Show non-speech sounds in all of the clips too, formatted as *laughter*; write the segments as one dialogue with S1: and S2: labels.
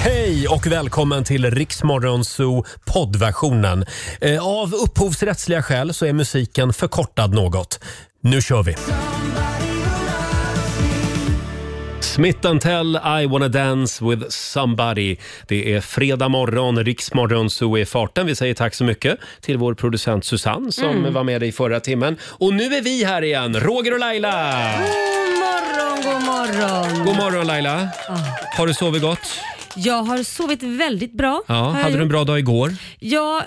S1: Hej och välkommen till Riksmorgonzoo poddversionen. Eh, Av upphovsrättsliga skäl så är musiken förkortad något. Nu kör vi! Smith Tell, I wanna dance with somebody. Det är fredag morgon, Riksmorgon, så är farten. Vi säger tack så mycket till vår producent Susanne som
S2: Mm.
S1: var med i förra timmen. Och nu är vi här igen, Roger och Laila!
S2: God morgon, god morgon.
S1: God morgon Laila! Har du sovit gott?
S2: Jag har sovit väldigt bra.
S1: Ja,
S2: har jag
S1: hade du en
S2: gjort.
S1: bra dag igår?
S2: Ja,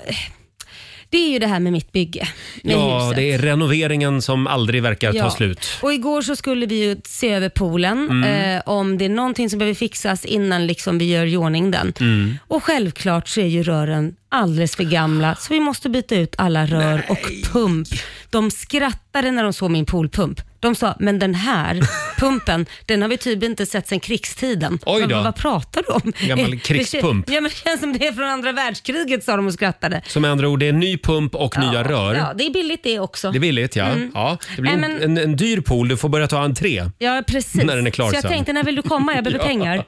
S2: det är ju det här med mitt bygge. Med
S1: ja,
S2: huset.
S1: det är renoveringen som aldrig verkar ta
S2: Ja.
S1: slut. Mm.
S2: Och igår så skulle vi ju se över poolen, eh, om det är någonting som behöver fixas innan liksom vi gör i ordning den.
S1: Mm.
S2: Och självklart så är ju rören alldeles för gamla, så vi måste byta ut alla rör och pump. De skrattade när de såg min poolpump. De sa, men
S1: *laughs*
S2: den här pumpen, den har vi typ inte sett sedan krigstiden.
S1: Oj
S2: Men
S1: då.
S2: Vad, vad pratar du om?
S1: Gammal
S2: *laughs* Det kän-
S1: krigspump.
S2: Ja, men det känns som det är från andra världskriget, sa de och skrattade.
S1: Som med andra ord, det är ny pump och nya rör.
S2: Ja, det är billigt det också.
S1: Det är billigt ja. ja det blir
S2: Nej,
S1: en,
S2: men-
S1: en, en dyr pool, du får börja ta entré.
S2: Ja, precis.
S1: När den är klar
S2: så jag
S1: sen.
S2: tänkte, när vill du komma?
S1: *laughs*
S2: Jag behöver pengar.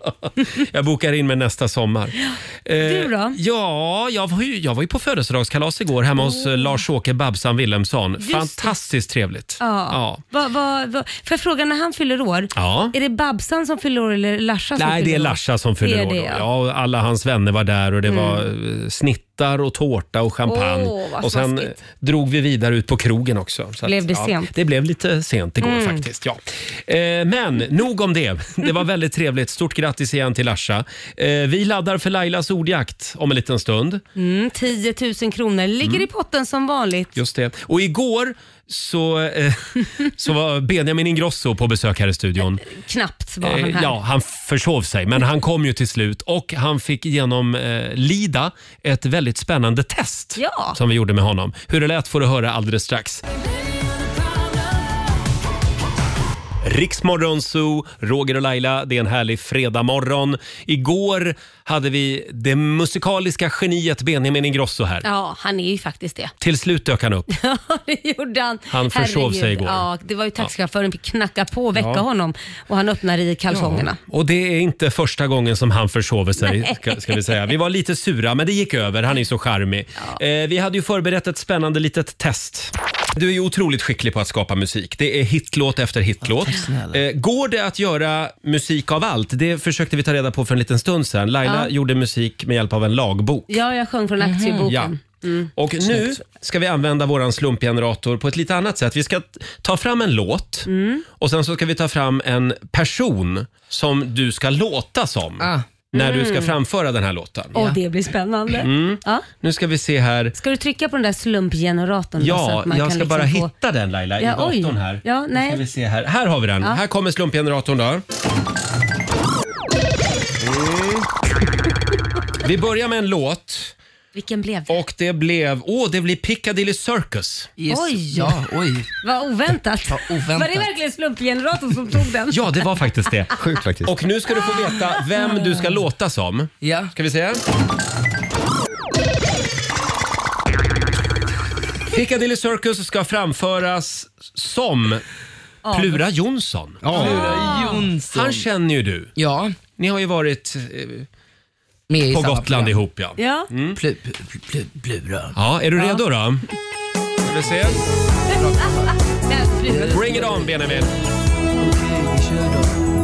S1: Jag bokar in mig nästa sommar.
S2: *gasps*
S1: Eh,
S2: Du då?
S1: Ja, jag var ju, jag var ju på födelsedagskalas igår hemma hos eh, Lars-Åke Babsan Wilhelmsson.
S2: det.
S1: Fantastiskt trevligt.
S2: Ja. Va, va, va. För frågan när han fyller år,
S1: Ja.
S2: är det Babsan som fyller år eller Larsa som
S1: Nej,
S2: fyller
S1: det är
S2: år?
S1: Larsa som
S2: Det
S1: fyller
S2: är
S1: år.
S2: det,
S1: då.
S2: ja.
S1: Ja, och alla hans vänner var där och det var eh, snittar och tårta och champagne.
S2: Åh, vad
S1: och sen eh,
S2: smaskigt.
S1: drog vi vidare ut på krogen också. Så
S2: Blev det
S1: ja,
S2: sent? Mm.
S1: Det blev lite sent igår faktiskt. Ja. Eh, men nog om det. Det var väldigt trevligt. Stort grattis igen till Larsa. Eh, vi laddar för Lailas ordjakt om en liten stund.
S2: Mm, 10 000 kronor ligger
S1: Mm.
S2: i potten som vanligt.
S1: Just det. Och igår så, eh, *laughs* så var Benjamin Ingrosso på besök här i studion.
S2: Knappt var han
S1: Eh,
S2: här.
S1: ja, han försov sig, men han kom ju till slut och han fick genom eh, lida ett väldigt spännande test
S2: Ja.
S1: som vi gjorde med honom. Hur det lät får du höra alldeles strax. Riksmorgon Zoo, Roger och Laila, det är en härlig fredagmorgon. Igår hade vi det musikaliska geniet Benjamin Ingrosso här.
S2: Ja, han är ju faktiskt det. *laughs*
S1: Till slut dök han upp.
S2: Ja, det gjorde han.
S1: Han försov
S2: Herregud.
S1: sig igår.
S2: Ja, det var ju taxichauffören fick knacka på och väcka
S1: Ja.
S2: honom och han öppnade i kalsongerna.
S1: Och det är inte första gången som han försover sig,
S2: Nej.
S1: ska, ska vi säga. Vi var lite sura, men det gick över. Han är så charmig. Eh, vi hade ju förberett ett spännande litet test. Du är ju otroligt skicklig på att skapa musik. Det är hitlåt efter hitlåt. Eh, går det att göra musik av allt? Det försökte vi ta reda på för en liten stund sedan. Laila gjorde musik med hjälp av en lagbok. Mm.
S2: Ja, jag sjöng från aktieboken.
S1: Mm-hmm.
S2: Mm.
S1: Ja. Och nu ska vi använda våran slumpgenerator på ett lite annat sätt. Vi ska t- ta fram en låt
S2: Mm.
S1: och sen så ska vi ta fram en person som du ska låta som Ah, när du ska Mm. framföra den här låten.
S2: Och Mm. det blir spännande. Ja.
S1: Nu ska vi se här.
S2: Ska du trycka på den där slumpgeneratorn? då, så
S1: Ja,
S2: att man
S1: jag
S2: kan
S1: ska
S2: liksom
S1: bara
S2: få...
S1: hitta den Laila
S2: Ja,
S1: i datorn
S2: oj.
S1: här.
S2: Ja,
S1: Nu
S2: nej.
S1: Ska vi se här. här har vi den. Här kommer slumpgeneratorn då. Mm. Vi börjar med en låt
S2: Vilken blev det?
S1: och det blev, åh det blir Piccadilly Circus.
S3: Yes.
S2: Oj.
S3: Ja, oj.
S2: Vad oväntat.
S3: Vad oväntat.
S2: Var det verkligen slumpgeneratorn som tog den?
S1: Ja, det var faktiskt det.
S4: Sjukt faktiskt.
S1: Och nu ska du få veta vem du ska låta som.
S3: Ja.
S1: Ska vi se? Piccadilly Circus ska framföras som Plura Jonsson.
S3: Plura Ah. Jonsson.
S1: Han känner ju du.
S3: Ja,
S1: Ni har ju varit eh,
S3: med i
S1: på
S3: samma
S1: Gotland
S3: program.
S1: ihop ja. Mm.
S2: Ja.
S3: Plu, plu, plu, plura.
S1: Ja, är du redo då? Ska vi se? Bring it on Benjamin.
S3: Vi kör då.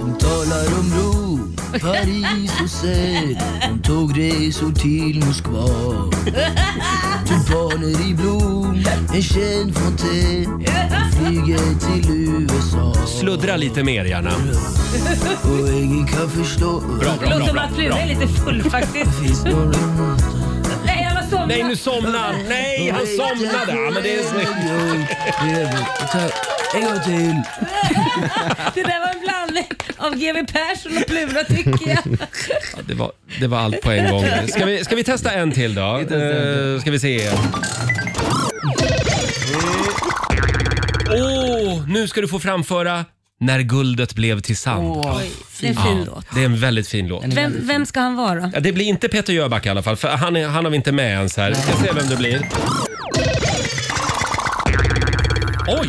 S3: De talar om Rom, Paris och Seine. De tog resor till Moskva. Tulpaner i blom, en känd fontän. De flyger till USA.
S1: Sluddra lite mer gärna.
S3: Och ingen kan förstå.
S1: Bra, bra,
S2: Låter
S1: bra.
S2: som
S1: bra,
S2: att Plura
S1: bra.
S2: är lite
S1: *laughs*
S2: full faktiskt.
S3: Finns någon
S2: Nej, jag var somnad.
S1: Nej, nu somnar han. Nej, han somnade. Ja, men det är snyggt.
S3: En gång till.
S2: Det där var en blandning av GW Persson och Plura tycker jag.
S1: Det var, det var allt på en gång. Ska vi, ska vi testa en till då? Eh, ska vi se. Åh, nu ska du få framföra När guldet blev till sand.
S2: Det är en fin låt.
S1: Det är en väldigt fin låt.
S2: Vem, vem ska han vara?
S1: Ja, det blir inte Peter Jöback i alla fall, för han, är, han har vi inte med ens här. Vi ska se vem det blir. Oj!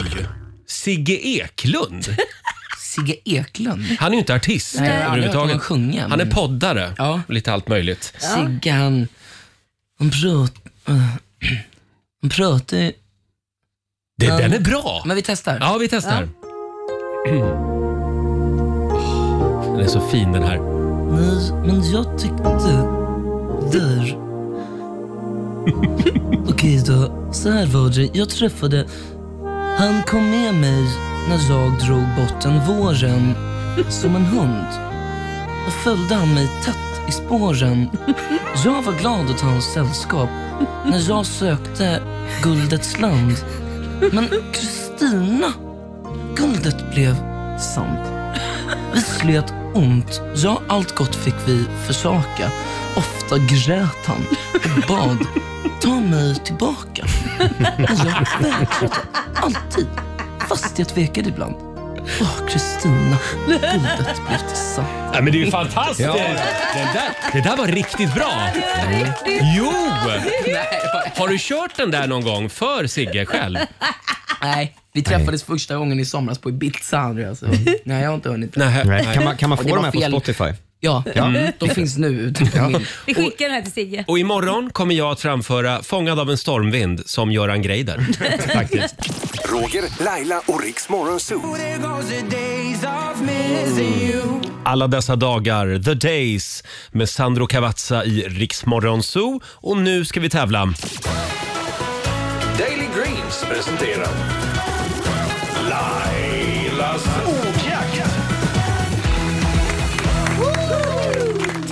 S1: Sigge Eklund.
S4: Sigge Eklund.
S1: Han är ju inte artist
S4: Nej, jag har aldrig
S1: överhuvudtaget.
S4: hört honom sjunga,
S1: Han är
S4: men-
S1: poddare
S4: Ja.
S1: och lite allt möjligt.
S4: Sigge han, han *clears throat* pratar... Han pratar ju-
S1: Det,
S4: Ja.
S1: Den är bra!
S4: Men vi testar.
S1: Ja, vi testar. Den är så fin den här.
S4: Nej, men jag tyckte där... Okej då, så här var det. Jag träffade... Han kom med mig när jag drog bort en våren som en hund. Då följde han mig tätt i spåren. Jag var glad åt hans sällskap när jag sökte guldets land. Men Kristina, guldet blev sant. Vi slet ont, ja allt gott fick vi försaka. Ofta grät han och bad, ta mig tillbaka. Men jag vägrade alltid, fast jag tvekade ibland. Åh, Kristina, guldet blev till sand.
S1: Ja, men det är ju fantastiskt! Den där, det där var riktigt bra. Mm. Jo! Har du kört den där någon gång för Sigge själv?
S4: Nej, vi träffades första gången i somras på Ibiza, Andreas. Så- Nej, jag har inte hunnit.
S1: Nej.
S5: Mm. Nej. Kan man, kan man
S4: Och
S5: få
S4: det
S5: de
S4: var
S5: här
S4: fel.
S5: på Spotify?
S4: Ja, de finns nu ute på min.
S2: Vi skickar den här till Sigge.
S1: Och imorgon kommer jag att framföra Fångad av en stormvind som
S5: *laughs*
S1: Göran Greider. *laughs* Faktiskt.
S6: Roger, Laila och Riks Morgonzoo.
S1: Alla dessa dagar, The Days med Sandro Cavazza i Rix Morgon Zoo. Och nu ska vi tävla.
S7: Daily Greens presenterar Lailas ordjakt.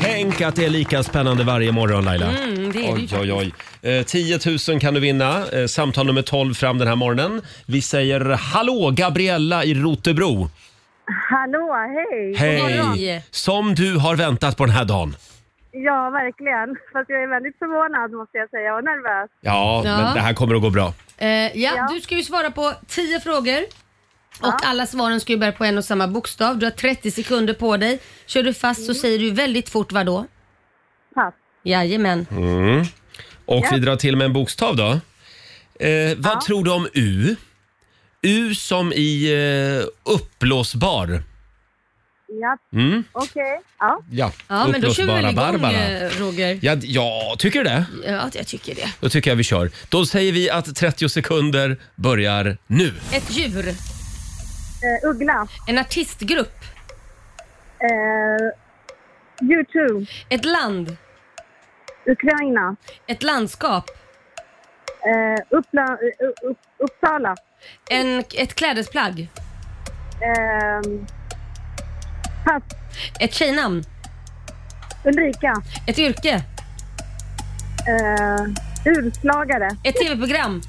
S1: Tänk att det är lika spännande varje morgon Laila.
S2: Mm, det är
S1: Oj,
S2: vi.
S1: oj, oj. Eh, 10 000 kan du vinna. Eh, samtal nummer 12 fram den här morgonen. Vi säger hallå Gabriella i Rotebro.
S8: Hallå, hej!
S1: Hej!
S2: morgon.
S1: Som du har väntat på den här dagen.
S8: Ja, verkligen. Fast jag är väldigt förvånad måste jag säga och nervös.
S1: Ja,
S2: Ja.
S1: men det här kommer att gå bra.
S2: Eh, ja, du ska ju svara på 10 frågor. Och alla svaren ska ju bära på en och samma bokstav. Du har 30 sekunder på dig. Kör du fast så säger du väldigt fort vad då?
S8: Pass.
S2: Jajamän.
S1: Mm. Och vi drar till med en bokstav då. Eh, vad tror du om U? U som i eh, uppblåsbar.
S8: Ja.
S1: Mm.
S8: Okej. Ja.
S1: Ja,
S2: Ja, men då kör vi väl igång
S1: Barbara.
S2: eh, Roger.
S1: Ja, d- ja, tycker du det?
S2: Ja, jag tycker det.
S1: Då tycker jag vi kör. Då säger vi att 30 sekunder börjar nu.
S2: Ett djur.
S8: Eh, uggla.
S2: En artistgrupp.
S8: Eh, YouTube.
S2: Ett land.
S8: Ukraina.
S2: Ett landskap.
S8: Eh, Uppla, eh, upp, Uppsala.
S2: En, ett klädesplagg.
S8: Eh, pass.
S2: Ett tjejnamn.
S8: Ulrika.
S2: Ett yrke.
S8: Eh, urslagare.
S2: Ett tv-program.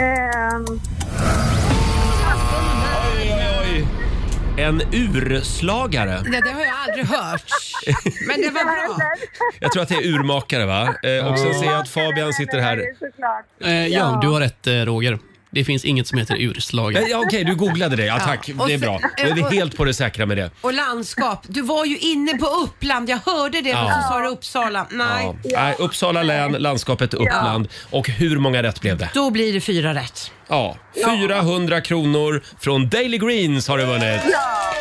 S8: Eh,
S1: En urslagare.
S9: Det, det har jag aldrig hört. Men det var bra.
S1: Jag tror att det är urmakare va? Eh, och sen ser jag att Fabian sitter här.
S8: Såklart.
S10: Eh, ja, du har rätt eh, Roger. Det finns inget som heter urslagare.
S1: Ja, Eh, ja, Okej, du googlade det. Ja, tack.
S9: och
S1: Det är
S9: så-
S1: bra. Då är vi
S9: eh, och-
S1: helt på det säkra med det.
S9: Och landskap. Du var ju inne på Uppland. Jag hörde det
S1: Ja.
S9: och så sa du Uppsala. Nej,
S1: Ja. Nej, Uppsala län, landskapet Uppland. Och hur många rätt blev det?
S9: då blir det fyra rätt.
S1: Ja, 400 kronor från Daily Greens har du vunnit.
S8: Ja,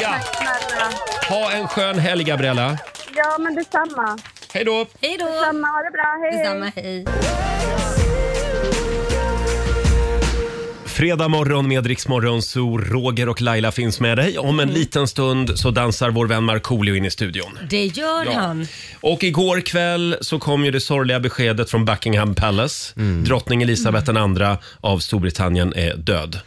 S1: Ja.
S8: tack snälla.
S1: Ha en skön helg Gabriella.
S8: Ja, men detsamma.
S1: Hej då!
S2: Hej då!
S8: Detsamma. Ha det bra. Hej, hej.
S2: Detsamma, hej.
S1: Fredag morgon med Rix Morgon, så Roger och Laila finns med dig. Om en liten stund så dansar vår vän Markoolio in i studion.
S2: Det gör han.
S1: Och igår kväll så kom ju det sorgliga beskedet från Buckingham Palace. Drottning Elisabeth II av Storbritannien är död.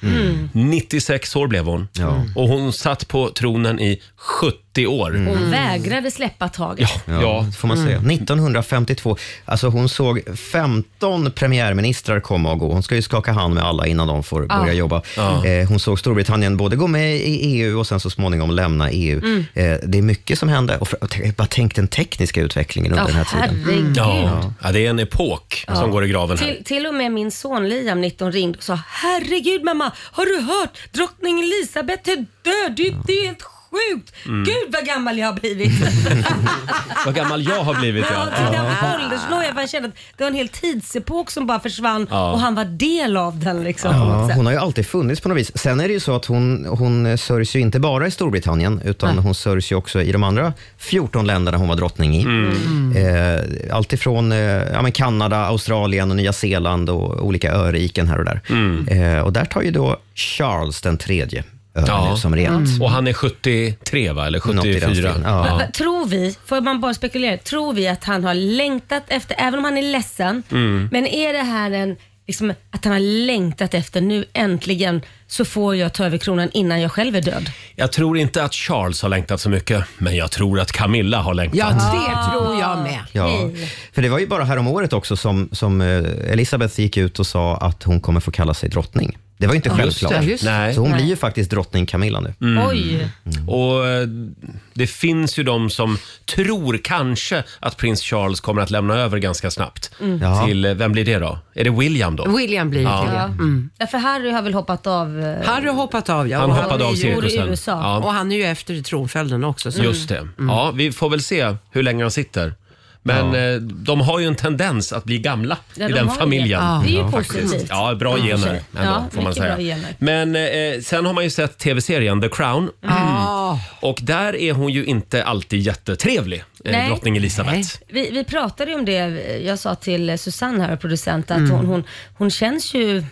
S1: 96 år blev hon. Mm. Och hon satt på tronen i 70 år.
S2: Hon vägrade släppa taget.
S1: Ja, Mm. ja.
S5: det får man säga. 1952. Alltså hon såg 15 premiärministrar komma och gå. Hon ska ju skaka hand med alla innan de får börja jobba. Eh, hon såg Storbritannien både gå med i EU och sen så småningom lämna EU. Eh, det är mycket som hände. Och för, och tänk- bara tänk den tekniska utvecklingen under
S2: Ja,
S5: den här tiden.
S2: herregud.
S1: Ja. ja, det är en epok som går i graven här.
S2: Till, till och med min son Liam, 19, ringde och sa “Herregud mamma, har du hört? Drottning Elisabeth är död, det, är- det är helt sjukt!” sjukt!
S1: Mm.
S2: Gud vad gammal jag har blivit.
S1: *laughs* Vad gammal jag har blivit
S2: ja.
S1: ja.
S2: Det där var ålderslåg. Jag bara kände att det var en hel tidsepok som bara försvann
S5: Ja.
S2: och han var del av den liksom. på något
S5: Ja,
S2: sätt.
S5: hon har ju alltid funnits på något vis. Sen är det ju så att hon, hon sörjs ju inte bara i Storbritannien, utan
S2: Nej.
S5: hon sörjs ju också i de andra 14 länderna hon var drottning i.
S11: Mm.
S5: Eh, allt ifrån eh, ja, men Kanada, Australien, och Nya Zeeland och olika öriken här och där.
S1: Mm.
S5: Eh, och där tar ju då Charles den tredje över
S1: Ja. Mm.
S5: nu som regent.
S1: Och han är 73 va? Eller
S5: Något i den
S1: 74?
S5: stilen. Ja.
S2: Va- va- Tror vi, får man bara spekulera, tror vi att han har längtat efter, även om han är ledsen,
S1: Mm.
S2: men är det här en, liksom, att han har längtat efter nu äntligen så får jag ta över kronan innan jag själv är död?
S1: Jag tror inte att Charles har längtat så mycket, men jag tror att Camilla har längtat.
S9: Ja, det tror jag med.
S5: Ja, för det var ju bara härom året också som, som eh, Elisabeth gick ut och sa att hon kommer få kalla sig drottning. Det var ju inte
S1: Ja, just
S5: självklart.
S1: det, just det. Nej.
S5: Så hon
S1: Nej. Mm.
S5: blir ju faktiskt drottning Camilla nu.
S2: Oj.
S1: Och eh, det finns ju de som tror kanske att prins Charles kommer att lämna över ganska snabbt.
S2: Mm. Ja.
S1: Till, eh, vem blir det då? Är det William då?
S9: William blir
S1: Ja.
S9: det.
S1: Ja.
S9: Mm.
S2: Därför Harry har väl hoppat av? eh,
S9: Harry har hoppat av ja.
S1: Han
S9: Och
S1: hoppade
S9: är
S1: av
S9: ju-
S1: cirkusen.
S9: bor i USA.
S1: Ja.
S9: Och han är ju efter i tronföljden också. Så. Mm.
S1: Just det. Ja, vi får väl se hur länge han sitter. Men eh, de har ju en tendens att bli gamla
S2: Ja,
S1: i
S2: de
S1: den
S2: har ju
S1: familjen.
S2: det. Ja. Det är ju
S1: Ja,
S2: positivt.
S1: faktiskt. Ja, bra
S2: Ja,
S1: gener
S2: precis.
S1: ändå,
S2: Ja,
S1: får man
S2: mycket
S1: säga.
S2: bra gener.
S1: Men eh, sen har man ju sett tv-serien The Crown.
S9: Mm.
S2: Ah.
S1: *clears throat* Och där är hon ju inte alltid jättetrevlig, eh,
S2: Nej.
S1: drottning Elizabeth.
S2: Vi, vi pratade ju om det, jag sa till Susanne här, producent,
S9: Mm.
S2: att hon, hon, hon känns ju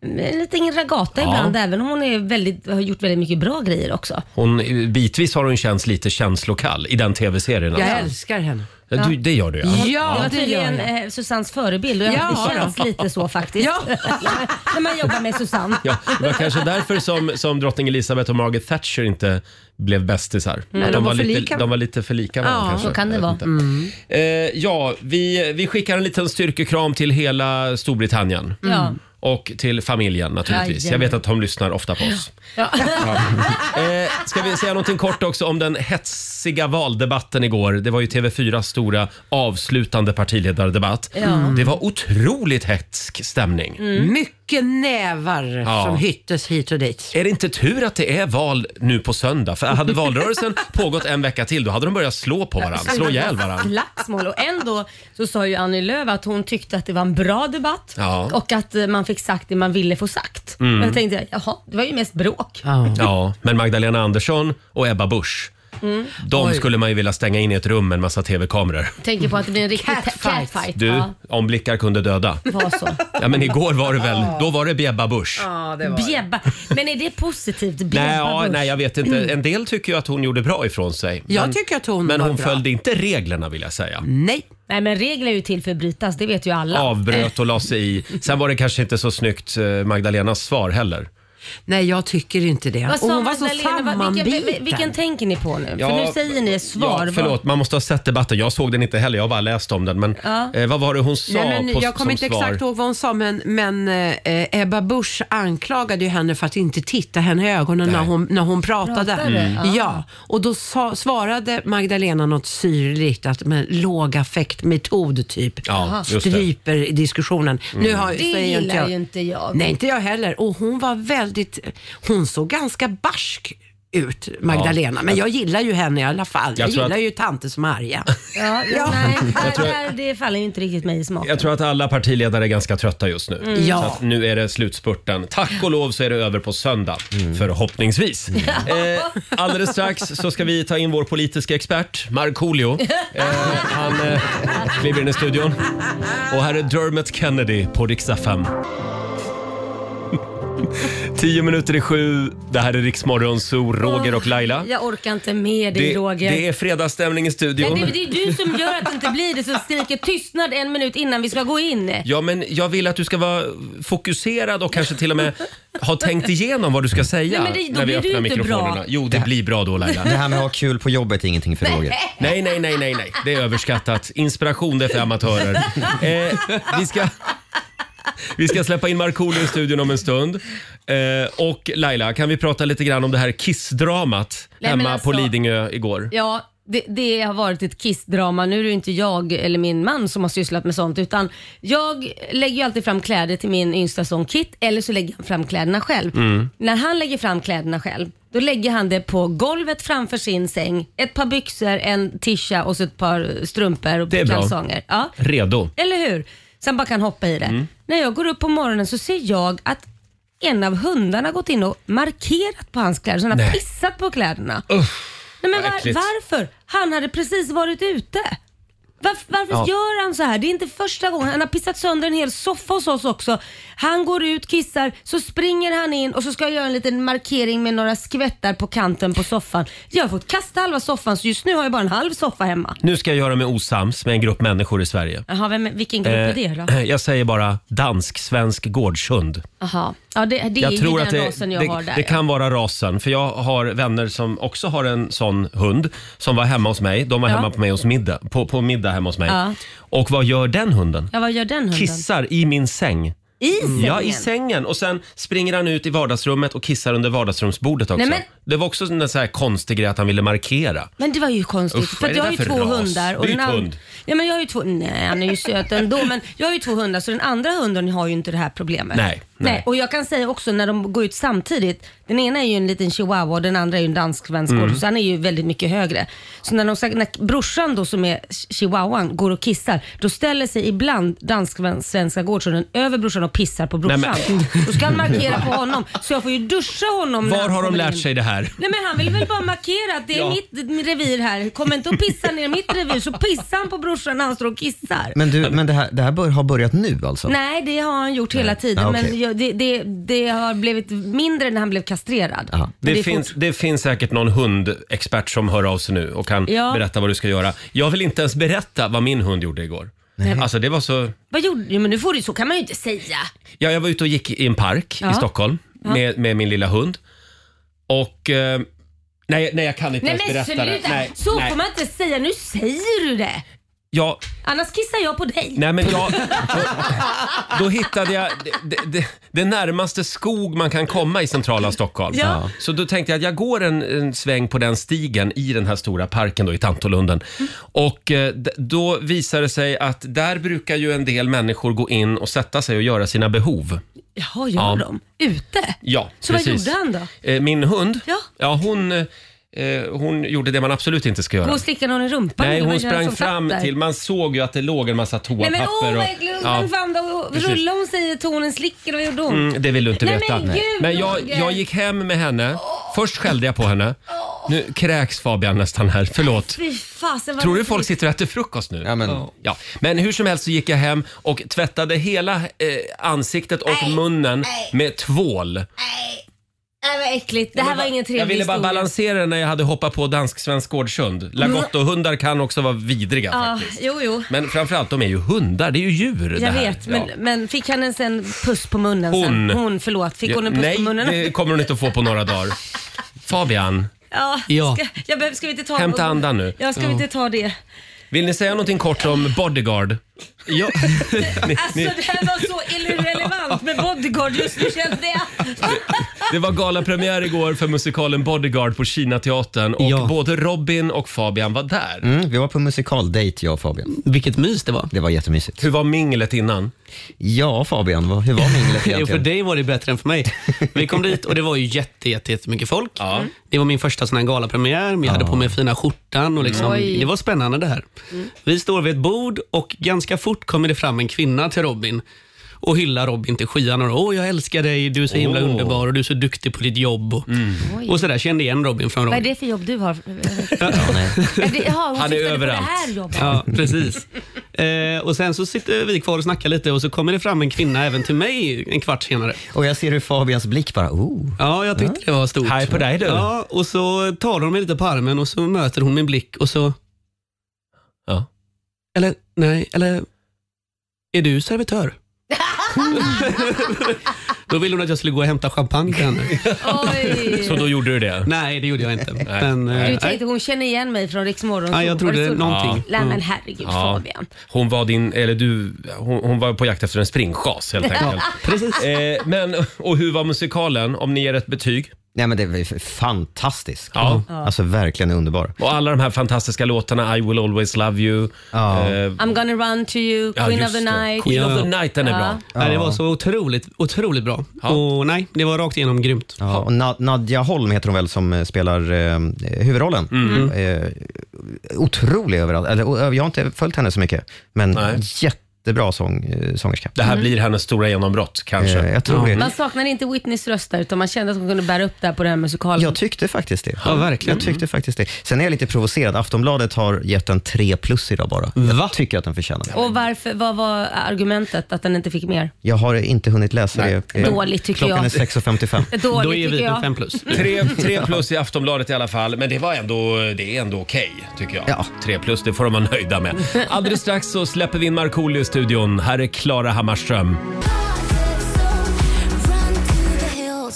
S2: en liten
S1: Ja.
S2: ragata ibland, även om hon är väldigt, har gjort väldigt mycket bra grejer också.
S1: Hon, eh, bitvis har hon känts lite känslokall i den tv-serien.
S2: Jag
S1: alltså.
S9: älskar henne.
S1: Ja, du, det gör du ja.
S2: det var
S9: det gör
S2: tydligen
S9: jag.
S2: eh, Susannes förebild och jag,
S9: Ja,
S2: det känns
S1: då.
S2: lite så faktiskt. *laughs* När man jobbar med Susanne.
S1: Ja, det var kanske därför som, som drottning Elisabeth och Margaret Thatcher inte blev bästisar.
S2: Nej,
S1: Att
S2: Mm. de var för
S1: lite,
S2: lika.
S1: de var lite för lika varandra
S2: Ja,
S1: kanske.
S2: så kan det
S1: Jag vet
S2: vara.
S1: inte. Eh, ja, vi, vi skickar en liten styrkekram till hela Storbritannien.
S2: Ja.
S1: Och till familjen naturligtvis. Jag
S2: Jajamän.
S1: vet att de lyssnar ofta på oss.
S2: Ja.
S1: *laughs* Eh, ska vi säga någonting kort också om den hetsiga valdebatten igår. Det var ju TV4 stora avslutande partiledardebatt.
S9: Ja. Mm.
S1: Det var otroligt hetsk stämning.
S2: Mm.
S9: Mycket nävar
S1: Ja.
S9: som hyttes hit och dit.
S1: Är det inte tur att det är val nu på söndag? För hade
S2: *laughs*
S1: valrörelsen pågått en vecka till då hade de börjat slå på varandra, slå ihjäl varandra.
S2: Slagsmål. Och ändå så sa ju Annie Lööf att hon tyckte att det var en bra debatt
S1: Ja.
S2: och att eh, man fick sagt det man ville få sagt.
S1: Mm.
S2: Och jag tänkte, jaha, det var ju mest bråk.
S1: Ja, men Magdalena Andersson och Ebba Busch,
S2: Mm.
S1: de
S2: Oj.
S1: skulle man ju vilja stänga in i ett rum med en massa TV-kameror.
S2: Tänker på att det blir en riktig catfight. catfight.
S1: Du,
S2: Ja,
S1: om blickar kunde döda.
S2: var så.
S1: Ja, men igår var det väl, då var det Ebba Busch.
S2: Ja, det var Bjebba. Men är det positivt? Bjebba
S1: Nej, ja,
S2: Busch? Mm.
S1: nej, jag vet inte. En del tycker ju att hon gjorde bra ifrån sig.
S2: Jag tycker att hon
S1: Men
S2: var
S1: hon
S2: bra.
S1: följde inte reglerna vill jag säga.
S9: Nej.
S2: Nej, men regler är ju till för att brytas, det vet ju alla.
S1: Avbröt och la sig i. Sen var det kanske inte så snyggt eh, Magdalenas svar heller.
S9: Nej, jag tycker inte det.
S2: Vad
S9: Och
S2: sa
S9: hon var så
S2: Magdalena? Vad-
S9: sammanbiten.
S2: Vilken, vilken tänker ni på nu?
S1: Ja,
S2: för nu säger ni ett svar.
S1: Ja, förlåt, man måste ha sett debatten. Jag såg den inte heller, jag har bara läst om den. Men
S9: Ja.
S1: eh, vad var det hon sa
S9: Nej, men
S1: på,
S9: jag kommer
S1: som
S9: inte
S1: svar?
S9: exakt ihåg vad hon sa, men, men eh, Ebba Busch anklagade ju henne för att inte titta henne i ögonen när hon, när hon pratade.
S2: Pratade, Mm.
S9: Ja, och då sa, svarade Magdalena något syrligt, att med låg affektmetod typ
S1: Ja, just det. Mm.
S9: stryper diskussionen. Nu har,
S2: det
S9: säger
S2: gillar
S9: inte
S2: ju
S9: jag,
S2: inte jag.
S9: Nej, inte jag heller. Och hon var väldigt, hon såg ganska barsk ut, Magdalena.
S1: Ja.
S9: Men jag gillar ju henne i alla fall.
S1: Jag
S9: Jag,
S1: tror
S9: gillar
S1: att-
S9: ju tanter som är arga.
S2: Ja, Nej,
S1: Jag tror-
S2: det, här, det faller ju inte riktigt mig i smaken.
S1: Jag tror att alla partiledare är ganska trötta just nu.
S2: Mm. Ja.
S1: Så att nu är det slutspurten. Tack och lov så är det över på söndag, förhoppningsvis. Eh, alldeles strax
S8: *laughs*
S1: så ska vi ta in vår politiska expert,
S9: *laughs*
S1: Markoolio. Eh, han eh, kliver in i studion. Och här är Dermot Kennedy på riksdag 5. *laughs* Tio minuter i sju. Det här är Riksmorgon, så Roger och Laila.
S2: Jag orkar inte med dig
S1: Det,
S2: Roger.
S1: det är fredagsstämning i
S2: Men
S1: studion.
S2: det, det är du som gör att det inte blir det som skriker tystnad en minut innan vi ska gå in.
S1: Ja, men jag vill att du ska vara fokuserad och kanske till och med ha tänkt igenom vad du ska säga
S2: Nej, men det- då
S1: när vi
S2: blir det ju
S1: öppnar
S2: inte
S1: mikrofonerna.
S2: bra.
S1: Jo, det blir bra då Laila.
S5: Det här med att ha kul på jobbet är ingenting för Roger.
S1: Nej, nej, nej, nej, nej. Det är överskattat. Inspiration det är för amatörer. Eh, vi, ska, vi ska släppa in Markoolio i studion om en stund. Eh, och Laila, kan vi prata lite grann om det här kissdramat
S2: Nej, men
S1: hemma på
S2: alltså-
S1: Lidingö igår?
S2: Ja, det, det har varit ett kissdrama. Nu är det ju inte jag eller min man som har sysslat med sånt utan jag lägger ju alltid fram kläder till min yngsta son Kit eller så lägger han fram kläderna
S8: *laughs*
S2: själv.
S11: Mm.
S2: När han lägger fram kläderna själv då lägger han det på golvet framför sin säng. Ett par byxor, en tisha och så ett par strumpor och
S1: Det är bra.
S2: kalsonger. Ja.
S1: Redo.
S2: Eller hur? Sen bara kan hoppa i det.
S1: Mm.
S2: När jag går upp på morgonen så ser jag att en av hundarna gått in och markerat på hans kläder. Så han har
S1: Nej.
S2: pissat på kläderna. Nej, men
S1: vad
S2: var,
S1: äckligt.
S2: varför? Han hade precis varit ute. Varf, varför
S1: Ja.
S2: gör han så här? Det är inte första gången. Han har pissat sönder en hel soffa hos oss också. Han går ut, kissar, så springer han in och så ska jag göra en liten markering med några skvättar på kanten på soffan. Jag har fått kasta halva soffan så just nu har jag bara en halv soffa hemma.
S1: Nu ska jag göra mig osams med en grupp människor i Sverige.
S2: Jaha, vem, vilken grupp är det då?
S1: Eh, Jag säger bara dansk-svensk gårdshund.
S2: Jaha. Ja, det, det är ju den rasen jag
S1: det,
S2: har där.
S1: det
S2: ja.
S1: kan vara rasen. För jag har vänner som också har en sån hund som var hemma hos mig. De var
S2: Ja.
S1: hemma på, mig hos middag, på, på middag hemma hos mig.
S2: Ja.
S1: Och vad gör den hunden?
S2: ja, vad gör den hunden?
S1: Kissar i min säng. Mm.
S2: I sängen?
S1: Ja, i sängen. Och sen springer han ut i vardagsrummet och kissar under vardagsrumsbordet också.
S2: Nej, men-
S1: Det var också en sån här konstig grej att han ville markera.
S2: Men det var ju konstigt.
S1: Usch,
S2: för
S1: vad är
S2: att
S1: det
S2: jag har
S1: där
S2: ju
S1: för
S2: två
S1: ras?
S2: hundar.
S1: Byt
S2: an-
S1: hund.
S2: Ja, men jag har ju två... Nej, han är ju
S1: *laughs*
S2: söt ändå. Men jag har ju två hundar så den andra hunden har ju inte det här problemet.
S1: Nej, nej.
S2: Och jag kan säga också när de går ut samtidigt. Den ena är ju en liten chihuahua och den andra är ju en dansk-svensk
S11: Mm.
S2: mm. Så han är ju väldigt mycket högre. Så när, de, sa- när brorsan då som är chihuahuan går och kissar. Då ställer sig ibland dansk-svenska gårdshunden över brorsan och pissar på brorsan.
S1: Nej,
S2: Då ska han markera på honom. Så jag får ju duscha honom. när
S1: Var
S2: han
S1: har de
S2: kommer
S1: lärt
S2: in.
S1: sig det här?
S2: Nej men han vill väl bara markera att det är
S1: Ja.
S2: mitt revir här. Kom inte och pissa ner mitt revir så pissar han på brorsan när han står och kissar.
S5: Men, du, men det här, det här bör, har börjat nu alltså?
S2: Nej det har han gjort hela tiden
S5: Ah,
S2: men
S5: okej.
S2: jag- det, det, det har blivit mindre när han blev kastrerad. Men
S1: Det,
S2: är
S1: finns,
S2: fort-
S1: det finns säkert någon hundexpert som hör av sig nu och kan
S2: Ja.
S1: berätta vad du ska göra. Jag vill inte ens berätta vad min hund gjorde igår.
S2: Nej.
S1: Alltså det var så...
S2: Vad gjorde du? Men nu får du, så kan man ju inte säga.
S1: Ja, jag var ute och gick i en park
S2: Ja.
S1: i Stockholm
S2: Ja.
S1: med, med min lilla hund. Och... Eh, nej, nej, jag kan inte
S2: Nej
S1: ens
S2: men
S1: berätta det.
S2: sluta,
S1: Nej,
S2: så
S1: nej.
S2: får man inte säga. Nu säger du det.
S1: Ja,
S2: Annars kissar jag på dig.
S1: Nej, men jag- då hittade jag det, det, det, det närmaste skog man kan komma i centrala Stockholm.
S2: Ja.
S1: Så då tänkte jag att jag går en, en sväng på den stigen i den här stora parken då, i Tantolunden. Och eh, d- då visar det sig att där brukar ju en del människor gå in och sätta sig och göra sina behov.
S2: Jaha, gör
S1: Ja.
S2: de? Ute?
S1: Ja,
S2: Så vad
S1: precis.
S2: gjorde han då?
S1: Eh, Min hund,
S2: Ja.
S1: ja hon, eh, hon gjorde det man absolut inte ska
S2: Gå
S1: göra.
S2: och slicka någon i rumpan?
S1: Nej,
S2: eller vad
S1: hon
S2: är det
S1: sprang
S2: som
S1: fram
S2: fattar?
S1: till, man såg ju att det låg en massa
S2: Nej
S1: toapapper.
S2: men åh vad äckligt, hon sprang
S1: Ja.
S2: fram då och
S1: Precis.
S2: rullade hon sig i tonen, slickade och vad gjorde hon?
S1: Mm, det vill du inte
S2: Nej,
S1: veta.
S2: Men, gud,
S1: men jag,
S2: Roger.
S1: jag gick hem med henne. Först skällde jag på henne. Nu kräks Fabian nästan här. Förlåt.
S2: Fy fasen vad
S1: Tror du folk sitter och äter frukost nu? Ja, men... Ja. men hur som helst så gick jag hem och tvättade hela eh, ansiktet och munnen med tvål.
S2: Nej Äh, vad äckligt, det här var ingen trevlig
S1: Jag ville bara
S2: historia.
S1: balansera när jag hade hoppat på dansk-svensk gårdshund. Lagotto-hundar kan också vara vidriga
S2: Ja,
S1: faktiskt.
S2: jo, jo.
S1: Men framförallt, de är ju hundar. Det är ju djur det
S2: Jag
S1: här.
S2: vet,
S1: Ja.
S2: men, men fick han ens en puss på munnen sen?
S1: Hon.
S2: Hon, förlåt. Fick
S1: Ja,
S2: hon en puss
S1: Nej,
S2: på munnen?
S1: det kommer hon inte att få på några
S2: *laughs*
S1: dagar. Fabian,
S2: Ja,
S1: Ja.
S2: Ska, jag behöver, ska vi inte ta
S1: Hämta andan nu.
S2: Ja, ska vi
S1: Ja.
S2: inte ta det?
S1: vill ni säga någonting kort om bodyguard? Ja. ni,
S2: Alltså
S1: ni,
S2: det här var så irrelevant med bodyguard just nu kände jag.
S1: det var galapremiär igår för musikalen Bodyguard på Kina teatern och både Robin och Fabian var där.
S5: Mm, vi var på musikaldejt jag och Fabian.
S10: Vilket mys det var.
S5: Det var jättemysigt.
S1: Hur var minglet innan?
S5: Ja, Fabian, vad, hur var minglet
S10: *laughs* Jo, för
S5: egentligen?
S10: dig var det bättre än för mig. Vi kom dit och det var ju jätte, jätte, jättemycket folk.
S2: Mm.
S10: Det var min första sån här galapremiär. men Jag hade på mig fina skjortan och liksom,
S11: Oj.
S10: det var spännande det här. Vi står vid ett bord och ganska fort kommer det fram en kvinna till Robin och hyllar Robin till skyarna. Åh, jag älskar dig, du är så himla
S11: Åh.
S10: underbar och du är så duktig på ditt jobb. Och,
S2: Oj.
S10: och sådär kände igen Robin från
S2: Vad är
S10: Robin.
S2: det för jobb du har? *laughs* Ja, det, ja, hon
S10: Han är
S2: syftade på
S10: överallt.
S2: Det här jobbet.
S10: Ja, precis. *laughs* Eh, och sen så sitter vi kvar och snackar lite och så kommer det fram en kvinna även till mig en kvart senare.
S5: Och jag ser hur Fabians blick bara, oh.
S10: Ja, jag tyckte det var stort.
S5: Hej på dig, du.
S10: Ja, och så talar hon mig lite på armen och så möter hon min blick och så...
S1: Ja.
S10: Eller, nej, eller... Är du servitör? då ville hon att jag skulle gå och hämta champagne till henne.
S2: Oj.
S1: Så då gjorde du det?
S10: Nej, det gjorde jag inte. Men, eh,
S2: Du
S10: nej.
S2: tänkte hon känner igen mig från Rix Morgon?
S10: Ja, jag
S2: Zoo.
S10: trodde
S2: Var så?
S10: någonting.
S2: Nej men
S10: Mm.
S2: herregud
S1: Ja.
S2: Fabian.
S1: Hon var din, eller du, hon, hon var på jakt efter en springschas helt
S2: *laughs* Ja,
S1: enkelt.
S10: precis.
S1: Eh, men, och hur var musikalen? Om ni ger ett betyg?
S5: Nej, men det var ju fantastiskt.
S1: Ja.
S5: Alltså verkligen underbar.
S1: Och alla de här fantastiska låtarna, I will always love you.
S5: Ja.
S1: Eh,
S2: I'm gonna run to you,
S1: Ja,
S2: Queen
S1: just
S2: of the
S1: det.
S2: night.
S1: Queen of the night, den är
S2: Ja.
S1: bra.
S10: Nej, det var så otroligt, otroligt bra. Och nej, det var rakt igenom grymt.
S5: Ja, och Na- Nadja Holm heter hon väl som eh, spelar eh, huvudrollen.
S10: Mm.
S5: Eh, otrolig överallt. Eller, o- jag har inte följt henne så mycket, men
S1: Nej.
S5: jättebra sång, eh, sångerska.
S1: Det här blir hennes stora genombrott kanske.
S5: Eh, jag tror det.
S2: Man saknade inte Whitneys röst där, utan man kände att hon kunde bära upp det här på den här musikalen.
S5: Jag tyckte faktiskt det.
S10: Ja, verkligen.
S5: Jag tyckte faktiskt det. Sen är jag lite provocerad. Aftonbladet har gett den 3 plus idag bara. Jag tycker att den förtjänar det.
S2: Och varför, vad var argumentet att den inte fick mer?
S5: Jag har inte hunnit läsa det. Eh,
S2: Dåligt tycker
S5: Klockan
S2: jag.
S5: är
S2: *laughs*
S5: 6.55.
S2: Dåligt
S10: Då är vi
S2: tycker
S10: på
S2: jag.
S10: fem plus.
S1: *laughs* Tre, tre plus i Aftonbladet i alla fall, men det var ändå, det är ändå okej tycker jag.
S5: Ja.
S1: Tre plus, det får de vara nöjda med. Alldeles strax så släpper vi in Markoolio i studion. Här är Klara Hammarström.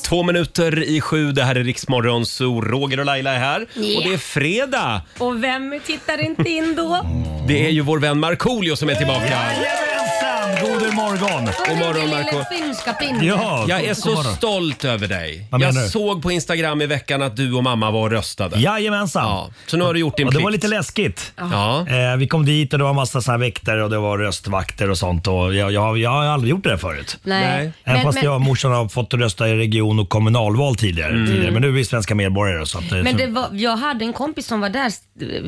S1: Två minuter i sju, det här är Riksmorgon, så Roger och Laila är här. Och det är fredag!
S2: Och vem tittar inte in då?
S11: Mm.
S1: Det är ju vår vän Markoolio som är tillbaka.
S11: Jajamensan! God morgon!
S1: God morgon Marco.
S2: Lille finska pinne.
S11: Ja.
S1: Jag är
S11: god
S1: så
S11: morgon.
S1: stolt över dig.
S11: Vad menar
S1: Jag
S11: du?
S1: såg på Instagram i veckan att du och mamma var och röstade.
S11: Jajamensan!
S1: Ja, så nu har du gjort din
S11: Och det var
S1: plikt.
S11: lite läskigt.
S1: Ja.
S11: Eh, vi kom dit och det var massa såna här väktare och det var röstvakter och sånt. Och jag, jag, jag har aldrig gjort det där förut.
S2: Nej.
S1: Nej.
S11: Även
S2: Men,
S11: fast
S2: men,
S11: jag och morsan har fått rösta i region och kommunalval tidigare. tidigare. Men nu är vi svenska medborgare. Så att,
S2: Mm. men
S11: så,
S2: det var, jag hade en kompis som var där s-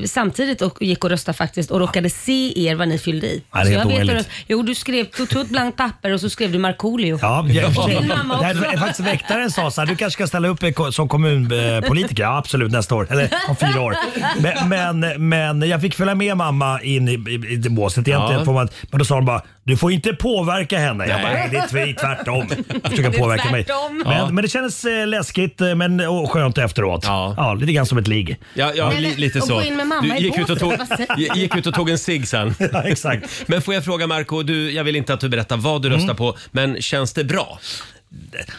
S2: samtidigt och gick och röstade faktiskt och råkade se er vad ni fyllde i.
S11: Ja, det är
S2: Så
S11: helt
S2: jag vet hur
S11: orimligt.
S2: det- Jo, du skrev, tog tog ett blankt papper och så skrev du Markoolio.
S11: Ja, jag,
S2: Din mamma också.
S11: Det är faktiskt väktaren sa så här, du kanske ska ställa upp i ko- som kommunpolitiker. Ja, absolut nästa år. Eller om fyra år. Men, men, men jag fick följa med mamma in i, i, i det båset egentligen.
S1: Ja.
S11: Får man, men då sa hon bara, du får inte påverka henne. Jag bara,
S1: Nej.
S11: nej, det är tv-
S1: *laughs*
S11: tvärtom. Jag försöker
S2: Det är
S11: påverka mig.
S2: tvärtom.
S11: Men,
S1: Ja.
S11: men det kändes eh, läskigt eh, men, och skönt efteråt.
S1: Ja.
S11: Ja. lite grann som ett ligg.
S1: Ja, ja
S2: Nej, men-
S1: li, lite
S2: och
S1: så.
S2: gå in med mamma
S1: Du
S2: i
S1: gick ut, och
S2: båten,
S1: tog,
S2: vad säger
S1: gi- gick ut och tog en cigg
S2: *laughs*
S1: sen.
S11: Ja, exakt.
S1: Men får jag fråga Marco, du, jag vill inte att du berättar vad
S2: Mm.
S1: du röstar på, men känns det bra?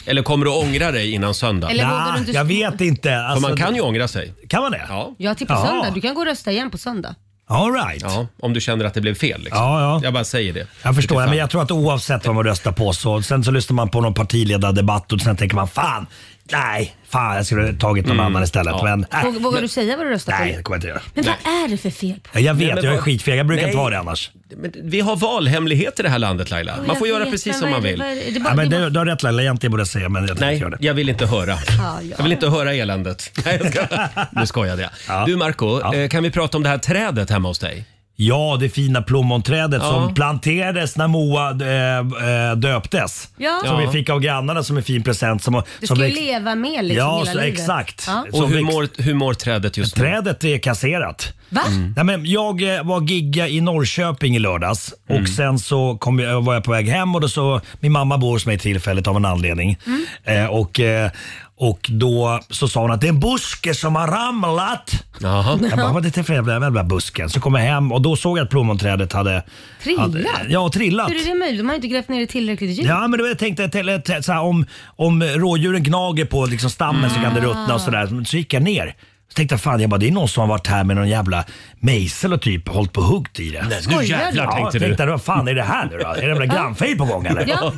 S1: Eller kommer du ångra dig innan söndag?
S2: Eller- vågar
S11: Nja,
S2: du inte-
S11: jag vet inte.
S1: För
S11: Alltså,
S1: man kan ju ångra sig.
S11: kan man det?
S1: Ja.
S2: Ja, till på
S11: Ja.
S2: söndag. Du kan gå och rösta igen på söndag.
S11: All right.
S1: ja, om du känner att det blev fel. Liksom.
S11: Ja, ja.
S1: Jag bara säger det.
S11: Jag förstår,
S1: Utifrån.
S11: men jag tror att oavsett vad man röstar på så, sen så lyssnar man på någon partiledardebatt och sen tänker man fan, nej, fan jag skulle ha tagit någon annan istället.
S1: Mm. ja.
S11: Äh, Men nej,
S2: Vågar du säga vad du röstar på?
S11: nej, det kommer jag inte göra.
S2: Men vad är det för fel på
S11: Jag
S1: Nej,
S11: vet,
S1: men
S11: jag är
S1: vad-
S11: skitfeg. Jag brukar
S1: Nej.
S11: inte ha det annars.
S1: Men vi har valhemlighet i det här landet Laila. Man
S2: Jag
S1: får göra
S2: vet,
S1: precis
S2: men
S1: som
S2: vad
S1: man
S2: är det-
S1: vill.
S2: vad är det- det är bara-
S11: Ja, men
S2: det är
S11: du, du har rätt Laila, egentligen borde jag säga men jag tänker
S1: Nej,
S11: inte göra det.
S1: jag vill inte höra.
S2: Ja, ja.
S1: Jag vill inte höra eländet. *laughs* Nej, jag ska... Nu skojade jag.
S11: Ja.
S1: Du Marco,
S11: Ja.
S1: eh, kan vi prata om det här trädet hemma hos dig?
S11: Ja, det fina plommonträdet
S1: Ja.
S11: som planterades när Moa eh, eh, döptes.
S2: Ja.
S11: Som
S1: Ja.
S11: vi fick av grannarna som en fin present. Som,
S2: Du
S11: som
S2: ska ju
S11: växt-
S2: leva med liksom
S11: Ja,
S2: hela
S11: så,
S2: livet.
S11: exakt.
S2: Ja.
S11: Som
S1: Och hur
S11: växt-
S1: mår, hur mår trädet just nu?
S11: Trädet är kasserat.
S2: Va?
S11: Nej, men jag eh, var gigga i Norrköping i lördags
S1: Mm.
S11: och sen så kom jag, var jag på väg hem och då så, min mamma bor hos mig tillfället av en anledning.
S2: Mm.
S11: Eh, och, eh, och då så sa hon att det är en buske som har ramlat.
S1: Jaha.
S11: Jag bara, vad är det för jävla jävla busken? Så kom jag hem och då såg jag att plommonträdet hade
S2: Trillat?
S11: Hade, ja, trillat.
S2: Hur är det möjligt? De har ju inte grävt ner det tillräckligt djupt. *gasps*
S11: Ja, men då jag tänkte jag till- till- så här, om, om rådjuren gnager på liksom stammen så kan det
S1: Ah.
S11: ruttna och sådär. Så gick jag ner. Så tänkte jag fan, jag bara, det är någon som har varit här med någon jävla mejsel och typ hållit på och huggt i det.
S1: Nu
S2: du?
S1: jävlar
S11: Ja,
S1: tänkte
S11: tänkte
S1: du.
S11: jag, vad fan är det här nu då? Är det
S1: *laughs*
S11: en jävla grannfejd på gång eller?
S2: Ja.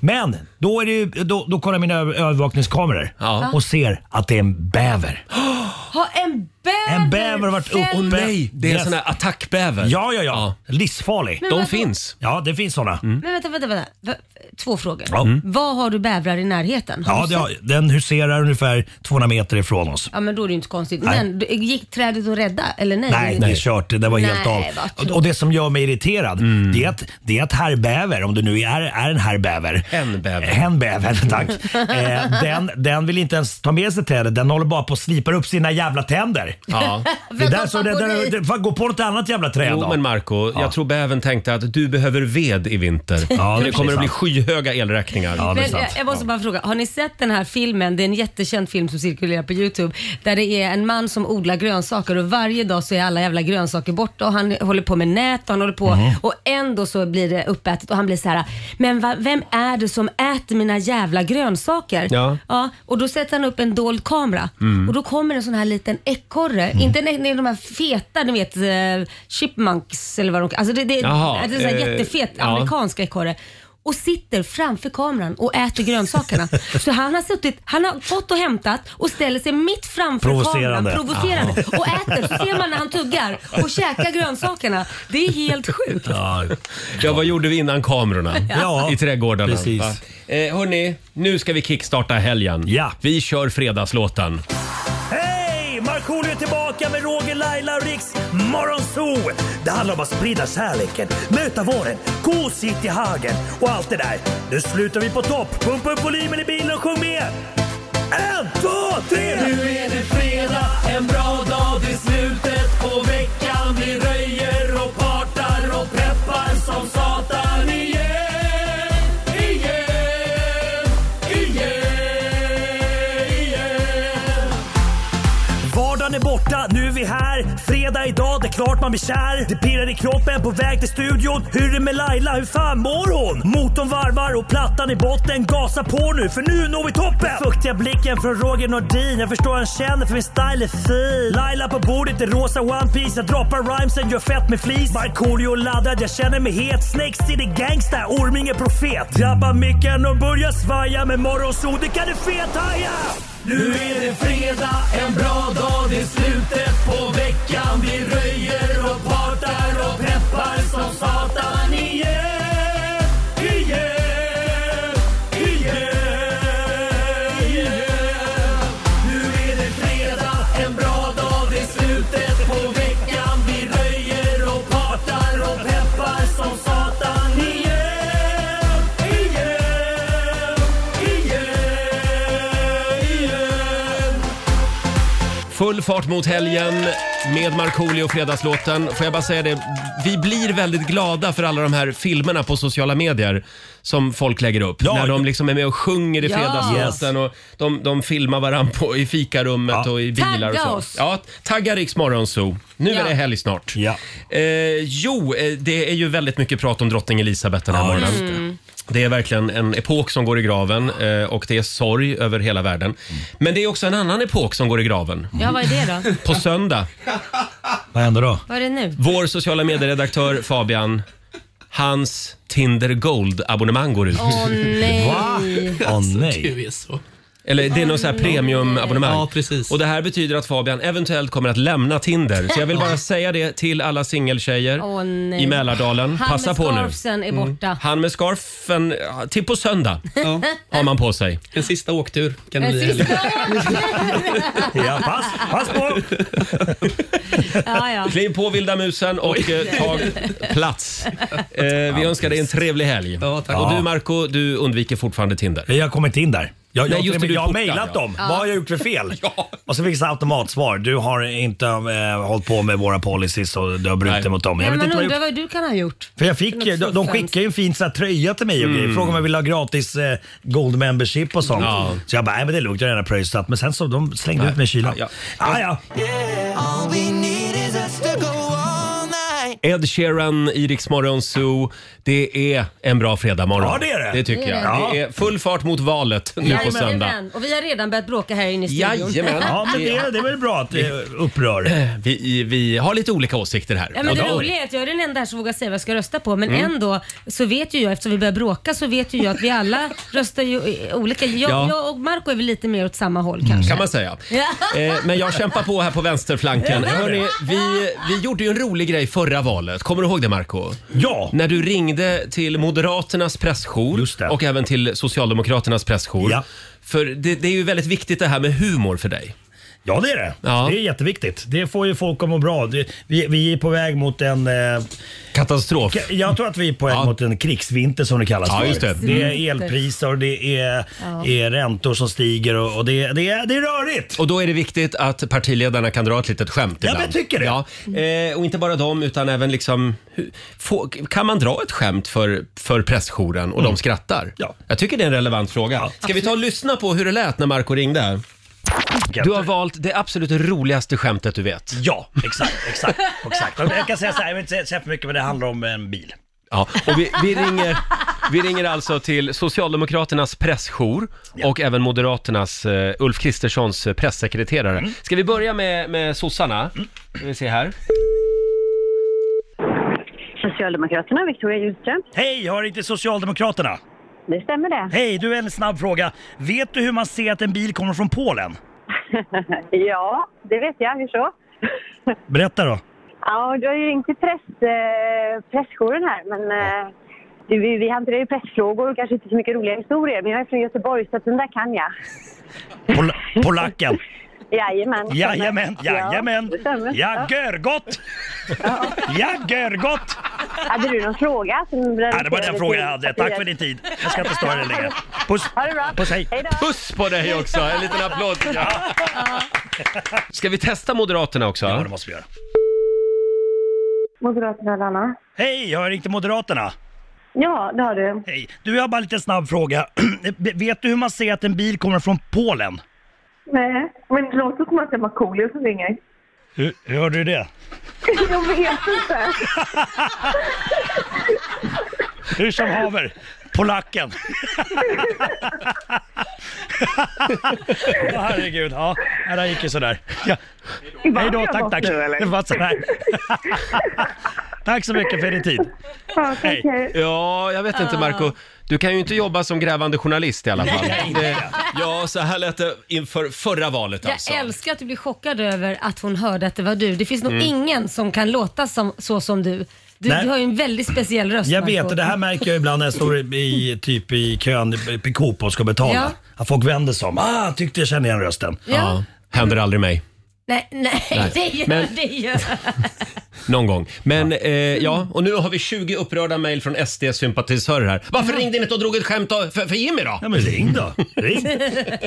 S11: Men då, är det ju, då, då kollar jag mina ö- övervakningskameror
S1: Ja.
S11: och ser att det är en bäver.
S2: Har en bäver
S11: En bäver har varit
S2: fällt-
S11: uppe.
S1: Åh nej, det är en
S11: Yes.
S1: sån här attackbäver.
S11: Ja, ja, ja. Livsfarlig.
S1: De
S2: vadå?
S1: finns. Mm.
S11: Ja, det finns sådana.
S2: Men vänta, vänta, vänta. Va- Två frågor.
S11: Ja. Mm.
S2: Vad har du bävrar i närheten? Har
S11: Ja,
S2: du
S11: det
S2: sett-
S11: har, den huserar ungefär 200 meter ifrån oss.
S2: ja, men då är det ju inte konstigt.
S11: Nej.
S2: Men du- gick trädet att rädda eller nej?
S11: Nej, det är kört. Det där var
S2: Nej,
S11: helt
S2: vad
S11: av.
S2: tråkigt.
S11: Och det som gör mig irriterad, det, är att, det är att herr bäver, om det nu är, är en herr bäver.
S1: En bäver.
S11: En bäver, tack. eh, den, den vill inte ens ta med sig tänder. Den håller bara på och slipar upp sina jävla tänder.
S1: Ja.
S11: *laughs*
S2: *laughs*
S11: Det där, så det
S2: favorit.
S11: där, det, fan, gå på något annat jävla träd
S1: Jo
S11: då.
S1: men Marco, jag tror bäven tänkte att du behöver ved i vinter.
S11: Ja,
S1: För
S11: det
S1: det
S11: är
S1: kommer att bli
S11: sant.
S1: skyhöga elräkningar.
S11: Ja, det är
S2: Men eh,
S11: sant.
S2: jag, jag måste bara fråga, har ni sett den här filmen? Det är en jättekänd film som cirkulerar på Youtube. Där det är en man som odlar grönsaker och varje dag så är alla jävla grönsaker borta och han håller på med nät och han håller på
S11: Mm.
S2: och ändå så blir det uppätet och han blir så här. Men va, vem är det som äter mina jävla grönsaker?
S1: Ja.
S2: och då sätter han upp en dold kamera
S1: Mm.
S2: och då kommer en sån här liten ekorre. Inte en, det är de här feta, ni vet eh, chipmunks eller vad de Alltså det, det,
S1: Jaha,
S2: det är en sån här
S1: eh,
S2: jättefet
S1: ja.
S2: amerikansk ekorre. och sitter framför kameran och
S1: *laughs*
S2: äter grönsakerna. Så han har suttit, han har gått och hämtat och ställer sig mitt framför kameran,
S11: Provocerande.
S2: provocerande,
S11: Ja.
S2: och äter. Så ser man när han tuggar och käkar grönsakerna. Det är helt sjukt.
S1: Ja, vad gjorde vi innan kamerorna?
S2: Ja.
S1: I trädgårdarna.
S11: Precis.
S1: va? Eh, hörni, nu ska vi kickstarta helgen. Ja. Vi kör fredagslåten.
S11: Hej! Markoolio är tillbaka med Roger, Laila och Riks Morgonzoo! Det handlar om att sprida kärleken, möta våren, gosigt i hagen och allt det där. Nu slutar vi på topp! Pumpa upp volymen i bilen och sjung med! En, två, tre!
S7: Nu är det fredag, en bra dag, det är slutet på veckan. Vi röjer och partar och preppar som satan igen. Igen, igen, igen.
S11: Vardagen är borta, nu är vi här. Fredag idag, det är klart man blir kär. Det pirrar i kroppen på väg till studion. Hur är det med Laila, hur fan mår hon? Motorn varvar och plattan i botten. Gasa på nu, för nu når vi toppen! Den fuktiga blicken från Roger Nordin. Jag förstår han känner, för min style är fin. Laila på bordet i rosa One Piece Jag droppar rhymesen, gör fett med flis. Markoolio laddad, jag känner mig het. Snakes city gangsta, Orminge profet. Drabbar micken och börjar svaja. Med morgonsol, det kan du fethaja!
S7: Nu är det fredag, en bra dag, det är slutet på veckan. Vi röjer och partar och peppar som satan igen. Igen, igen, igen. Nu är det fredag, en bra dag, det är slutet på veckan. Vi röjer och partar och peppar som satan igen. Igen, igen, igen.
S1: Full fart mot helgen med Markoolio och Fredagslåten. Får jag bara säga det, vi blir väldigt glada för alla de här filmerna på sociala medier som folk lägger upp. När de liksom är med och sjunger i
S7: Ja.
S1: Fredagslåten och de, de filmar varandra på, i fikarummet och i bilar och
S7: Tagga
S1: så.
S7: oss.
S1: Ja, tagga Rix Morgonzoo. Nu är det helg snart. Eh, jo, eh, det är ju väldigt mycket prat om drottning Elisabeth den här morgonen.
S7: just det. Mm.
S1: Det är verkligen en epok som går i graven eh, och det är sorg över hela världen.
S7: Mm.
S1: Men det är också en annan epok som går i graven.
S2: Ja, vad är det då?
S1: På söndag.
S11: Vad händer då?
S2: Vad är det nu?
S1: Vår sociala medieredaktör Fabian, hans Tinder Gold-abonnemang går ut.
S2: Åh, nej. Alltså, Va?
S11: Åh
S10: du
S1: nej. Eller det är något så här premiumabonnemang. Ja, precis. Och det här betyder att Fabian eventuellt kommer att lämna Tinder. Så jag vill bara säga det till alla singeltjejer
S2: Åh, nej.
S1: i Mälardalen.
S2: Han
S1: Passa
S2: med
S1: på nu.
S2: scarfsen är
S1: Mm.
S2: borta.
S1: Han med scarfen ja, till på söndag har man på sig. En sista åktur kan
S2: En sista
S11: Ja, pass, pass på!
S2: ja, ja.
S1: Kliv på vilda musen och eh, ta
S2: *laughs*
S1: plats. Eh, vi önskar dig en trevlig helg. Ja,
S11: tack.
S1: Och
S11: Ja.
S1: du Marco, du undviker fortfarande Tinder.
S11: Jag kommer inte in där. Jag, jag,
S1: Nej, just det, du
S11: jag har
S1: portar,
S11: mejlat
S1: ja.
S11: dem.
S1: Ja.
S11: Vad har jag gjort för
S1: *laughs*
S11: fel? Och så fick jag automatsvar. Du har inte eh, hållit på med våra policies och du har brutit mot dem. Jag
S2: Men
S11: vet
S2: man
S11: inte vad jag
S2: undrar
S11: gjort.
S2: vad du kan ha gjort.
S11: För jag fick, ju- de, de skickade ju en fin sån här tröja till mig och
S1: Mm.
S11: grejer. Frågade om jag ville ha gratis eh, gold membership och sånt. Så jag bara, nej men det är lugnt, jag har redan pröjsat. Men sen så de slängde ut mig i kylan. Ja, ja.
S7: All we need is us to go all night.
S1: Ed Sheeran, Iriks Zoo. Det är en bra fredagmorgon.
S7: Ja, det är det.
S1: Det tycker
S2: Det är
S1: jag.
S2: det.
S1: Det är full fart mot valet nu på
S2: Jajamän.
S1: söndag.
S2: Och vi har redan börjat bråka här inne i studion. *laughs*
S1: Jajamän. Ja, men det-
S11: det är väl bra att det upprör.
S1: Eh, Vi, vi har lite olika åsikter här.
S2: Ja, men det
S1: Och då-
S2: roliga är att jag är den enda här som vågar säga vad jag ska rösta på. Men
S1: Mm.
S2: ändå så vet ju jag, eftersom vi börjar bråka, så vet ju jag att vi alla röstar ju eh, olika. Jag,
S1: Ja. Mm.
S2: jag och Marco är väl lite mer åt samma håll kanske.
S1: Kan man säga.
S2: *laughs* Ja.
S1: *laughs* Eh, men
S2: *laughs*
S1: jag kämpar på här på vänsterflanken. Hörrni, vi, vi gjorde ju en rolig grej förra valet. Kommer du ihåg det Marco?
S11: Ja!
S1: När du ringde till Moderaternas pressjour och även till Socialdemokraternas pressjour. För det, det är ju väldigt viktigt det här med humor för dig.
S11: Ja, det är det.
S1: Ja.
S11: Det är jätteviktigt. Det får ju folk att må bra. Det, vi, vi är på väg mot en... Eh,
S1: Katastrof.
S11: ka- Jag tror att vi är på väg mot en krigsvinter som det kallas
S1: Ja,
S11: för.
S1: just det.
S11: det är elpriser och det är,
S1: Ja.
S11: är räntor som stiger och, och det, det, är- det är rörigt.
S1: Och då är det viktigt att partiledarna kan dra ett litet skämt
S11: Ja,
S1: ibland.
S11: men jag tycker det.
S1: Ja, eh, och inte bara dem, utan även liksom... hur- Få, kan man dra ett skämt för, för pressjouren och
S11: Mm.
S1: de skrattar? Ja. Jag tycker det är en relevant fråga. Ska vi ta och lyssna på hur det lät när Marco ringde? Du har valt det absolut roligaste skämtet du vet.
S11: Ja, *laughs* exakt, exakt, exakt. Och Jag kan säga så här, jag vill inte säga- säga för mycket men det handlar om en bil.
S1: Ja, och vi, vi, ringer, vi ringer alltså till Socialdemokraternas pressjour och även Moderaternas eh, Ulf Kristerssons eh, pressekreterare.
S11: Mm.
S1: Ska vi börja med, med sossarna? Ska vi se här.
S12: Socialdemokraterna, Victoria Hjultström.
S11: Hej, hör inte Socialdemokraterna?
S12: Det stämmer det.
S11: Hej, du en snabb fråga. Vet du hur man ser att en bil kommer från Polen?
S12: *laughs* ja, det vet jag. Hur så?
S11: Berätta
S12: *laughs*
S11: då.
S12: Ja, du har ju ringt till press, eh, pressjouren här, men eh, du, vi, vi hanterar ju pressfrågor och kanske inte så mycket roliga historier. Men jag är från Göteborg, så att den där kan
S9: *laughs*
S12: jag.
S11: Pol polacken.
S12: Jajamän.
S11: Jajamän, jajamän.
S12: Ja, det stämmer.
S11: Ja, görgott! Ja, görgott!
S12: Hade du någon fråga? Som
S11: Ja, det var den frågan jag hade. Tack för din tid. Jag ska inte störa dig längre. Puss!
S12: Ha det bra.
S11: Puss, hej.
S1: Puss på dig också! En liten applåd tycker jag. Ska vi testa Moderaterna också? Ja, det
S11: måste vi göra.
S12: Moderaterna, Lanna.
S11: Hej, jag ringde Moderaterna.
S12: Ja, det har du.
S11: Hej. Du, jag har bara en liten snabb fråga. *clears throat* Vet du hur man ser att en bil kommer från Polen?
S8: Nej, men det låter som att det är Markoolio som ringer. *laughs*
S11: Hur, hur hörde du det?
S8: Jag vet inte.
S11: Hur som haver, polacken. *laughs* Åh, herregud, ja, det där gick ju sådär. Ja. Hej då, tack, tack. Det var sådär. Tack så mycket för din tid.
S1: Hej. Ja, jag vet
S2: Ah.
S1: inte Marco. Du kan ju inte jobba som grävande journalist i alla fall.
S2: Nej.
S1: Det, ja, så här lät det inför förra valet
S2: Jag
S1: alltså.
S2: älskar att du blir chockad över att hon hörde att det var du. Det finns nog
S1: Mm.
S2: ingen som kan låta som, så som du. Du,
S11: Nej.
S2: du har ju en väldigt speciell röst
S11: Jag vet,
S2: Marco.
S11: och det här märker jag ibland när jag står i- i, typ i kön i- på Coop och ska betala.
S2: Ja.
S11: Att folk vänder sig om. Ah, tyckte jag kände igen rösten.
S2: Ja. Ja.
S1: Händer aldrig mig.
S2: Nej, nej,
S1: Nej.
S2: *laughs* det gör
S1: Men-
S2: det. Gör.
S1: Någon gång. Men ja. Eh, ja, och nu har vi 20 upprörda mejl från SD-sympatisörer här. Varför ringde ni inte och drog ett skämt av- för, för Jimmy då?
S11: Ja men ring då. Ring.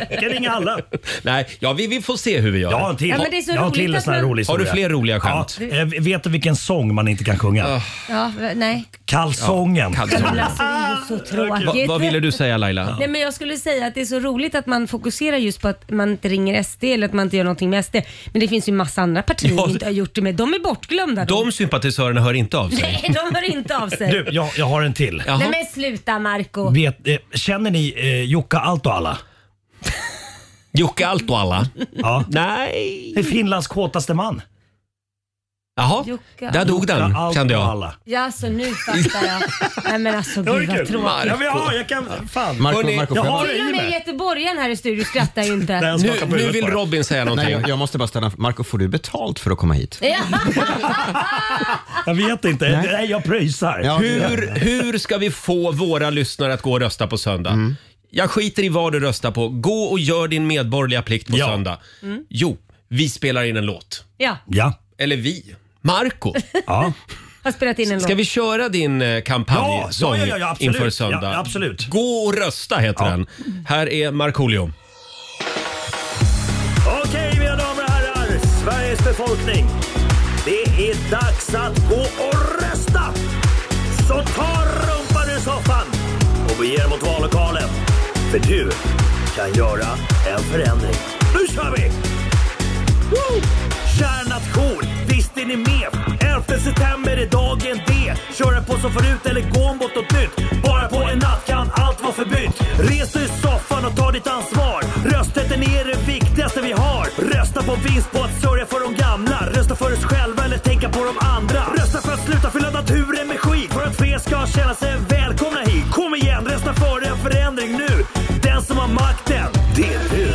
S11: Jag kan ringa alla.
S1: Nej, ja, vi, vi får se hur vi gör.
S11: Jag har en till,
S2: Ja, men det är så
S11: jag har en
S2: roligt
S11: till en
S2: att
S11: sån här
S2: man-
S11: rolig historia.
S1: Har du fler roliga skämt?
S11: Ja, eh, vet du vilken sång man inte kan sjunga?
S2: Ja, nej.
S11: Kalsongen.
S2: Men alltså, det är ju så tråkigt.
S1: Ah, Va, vad ville du säga Laila?
S2: Nej, men jag skulle säga att det är så roligt att man fokuserar just på att man inte ringer SD eller att man inte gör någonting med SD. Men det finns ju massa andra partier
S1: Ja,
S2: vi
S1: det-
S2: inte har gjort det med. De är bortglömda.
S1: De sympatisörerna hör inte av sig.
S2: Nej, de hör inte av sig.
S11: Du, jag, jag har en till.
S2: Nej men sluta Marco
S11: Vet, eh, känner ni eh, Jukka
S1: *laughs*
S11: Altoala?
S1: Jukka Altoala?
S11: Ja.
S1: Nej.
S11: Det är Finlands kåtaste man.
S1: Jaha,
S2: Jukka- där dog den,
S1: kände jag.
S2: Ja, så nu
S1: *laughs*
S2: fattar jag. Nej men alltså
S11: Det var ju
S2: gud vad
S11: kul. Ja,
S2: tråkigt.
S11: men ja, jag kan... Fan.
S5: Marco, Marco,
S11: jag
S5: får jag-
S11: har
S2: Till
S11: det
S2: och
S11: i
S2: med
S11: mig.
S2: göteborgaren här i studion skrattar
S1: *laughs*
S2: ju inte.
S1: Robin säga
S5: Nej,
S1: någonting.
S5: jag, jag måste bara ställa en Marco, får du betalt för att komma hit?
S2: Ja.
S11: Jag vet inte. Nej, jag pröjsar.
S1: Hur, hur ska vi få våra lyssnare att gå och rösta på söndag?
S11: Mm.
S1: Jag skiter i vad du röstar på. Gå och gör din medborgerliga plikt på söndag.
S2: Mm.
S1: Jo, vi spelar in en låt.
S2: Ja,
S11: Ja.
S1: Eller vi. Marco.
S11: *laughs* Ja.
S2: har spelat in en
S1: Ska
S2: låt.
S1: vi köra din eh, kampanjsång
S11: Ja, ja, ja, ja, absolut.
S1: inför söndag?
S11: Ja, absolut.
S1: Gå och rösta heter den. Här är Markoolio.
S11: Okej mina damer och herrar, Sveriges befolkning. Det är dags att gå och rösta. Så ta rumpan ur soffan och bege er mot vallokalen. För du kan göra en förändring. Nu kör vi! Woo! Kära nation, visst är ni med? 11 september är dagen D. Köra på som förut eller gå mot något nytt. Bara på en natt kan allt vara förbytt. Res dig ur soffan och ta ditt ansvar. Rösträtten är det viktigaste vi har. Rösta på vinst på att sörja för de gamla. Rösta för oss själva eller tänka på de andra. Rösta för att sluta fylla naturen med skit. För att fler ska känna sig välkomna hit. Kom igen, rösta för en förändring nu. Den som har makten, det är du.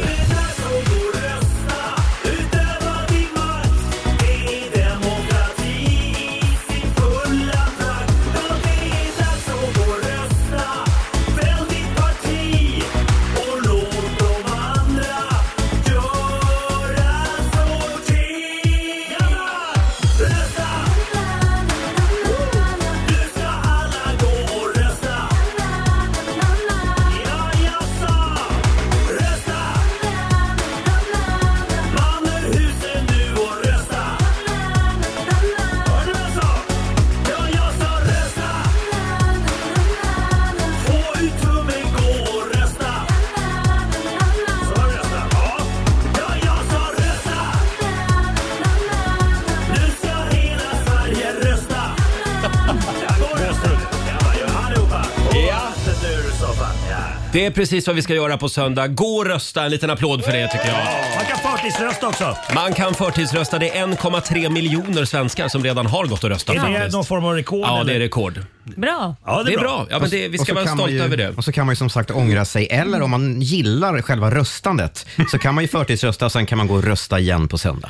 S1: Det är precis vad vi ska göra på söndag. Gå och rösta. En liten applåd för det tycker jag.
S11: Man kan förtidsrösta också.
S1: Man kan förtidsrösta. Det är 1,3 miljoner svenskar som redan har gått och röstat.
S11: Är det
S1: faktiskt.
S11: någon form av rekord?
S1: Ja,
S11: eller?
S1: det är rekord.
S2: Bra.
S1: det är bra. Ja, men det- vi
S5: Och
S1: ska
S5: så
S1: vara
S5: kan man
S1: stolta
S5: ju,
S1: över det.
S5: Och så kan man ju som sagt ångra sig. Eller om man gillar själva röstandet så kan man ju förtidsrösta och sen kan man gå och rösta igen på söndag.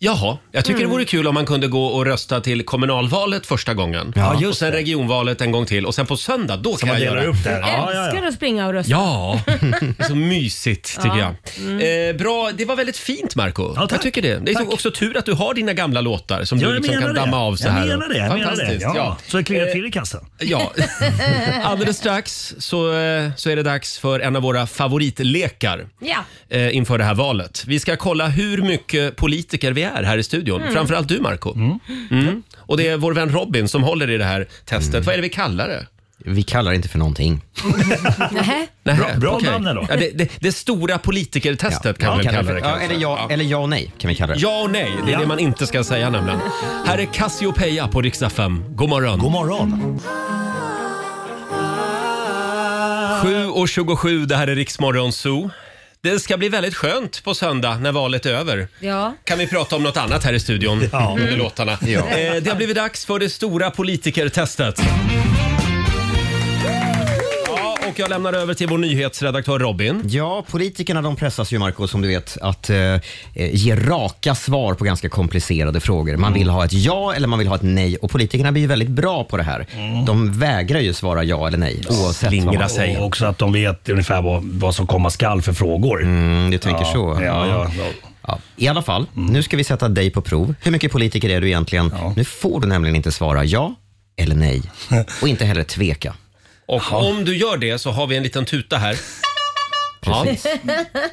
S1: Jaha, jag tycker
S5: Mm.
S1: det vore kul om man kunde gå och rösta till kommunalvalet första gången.
S5: Ja,
S1: och sen regionvalet en gång till och sen på söndag, då kan man
S11: man delar
S1: göra
S11: upp det här.
S2: Jag älskar att springa och rösta. *laughs*
S1: Ja, det är så mysigt tycker
S2: Ja. Mm.
S1: jag. Eh, bra, det var väldigt fint Marco Jag
S11: tack.
S1: tycker det. Det är
S11: Tack.
S1: också tur att du har dina gamla låtar som
S11: Ja,
S1: du
S11: jag
S1: liksom
S11: menar
S1: kan
S11: det.
S1: damma av så
S11: jag
S1: här.
S11: Menar det, jag menar det.
S1: Fantastiskt,
S11: Ja.
S1: ja.
S11: Så det klirrar till i kassan.
S1: Ja,
S11: *laughs*
S1: alldeles strax så, eh, så är det dags för en av våra favoritlekar
S2: Ja.
S1: eh, inför det här valet. Vi ska kolla hur mycket politiker vi är här i studion.
S2: Mm.
S1: Framförallt du, Marco Mm. Och det är vår vän Robin som håller i det här testet. Vad är det vi kallar det?
S5: Mm. Vi kallar det inte för någonting.
S2: Nähä.
S5: Bra- bra namn ändå.
S1: Ja, det, det, det stora politikertestet kan vi väl kalla det.
S5: Ja,
S1: kanske.
S5: eller, ja, eller ja och nej kan vi kalla det.
S1: Ja och nej, det är
S5: Ja.
S1: det man inte ska säga nämligen. Här är Cassiopeia på riksdag 5. God morgon. God
S11: morgon.
S1: 7.27, det här är Riksmorgon Zoo. Det ska bli väldigt skönt på söndag när valet är över.
S2: Ja.
S1: Kan vi prata om något annat här i studion
S11: Ja.
S1: under låtarna?
S5: Ja.
S1: Eh, det har blivit dags för det stora politikertestet. Ja, och jag lämnar över till vår nyhetsredaktör Robin.
S5: Ja, politikerna de pressas ju, Marco, som du vet, att eh, eh, ge raka svar på ganska komplicerade frågor. Man
S1: Mm.
S5: vill ha ett ja eller man vill ha ett nej och politikerna blir ju väldigt bra på det här.
S1: Mm.
S5: De vägrar ju svara ja eller nej oavsett vad man
S11: Och också att de vet ungefär vad, vad som komma skall för frågor.
S5: Mm, du tänker
S11: ja,
S5: så.
S11: Ja, ja.
S5: Ja, I alla fall,
S1: Mm.
S5: nu ska vi sätta dig på prov. Hur mycket politiker är du egentligen? Nu får du nämligen inte svara ja eller
S1: *laughs*
S5: nej och inte heller tveka.
S1: Och om du gör det så har vi en liten tuta här.
S5: Precis.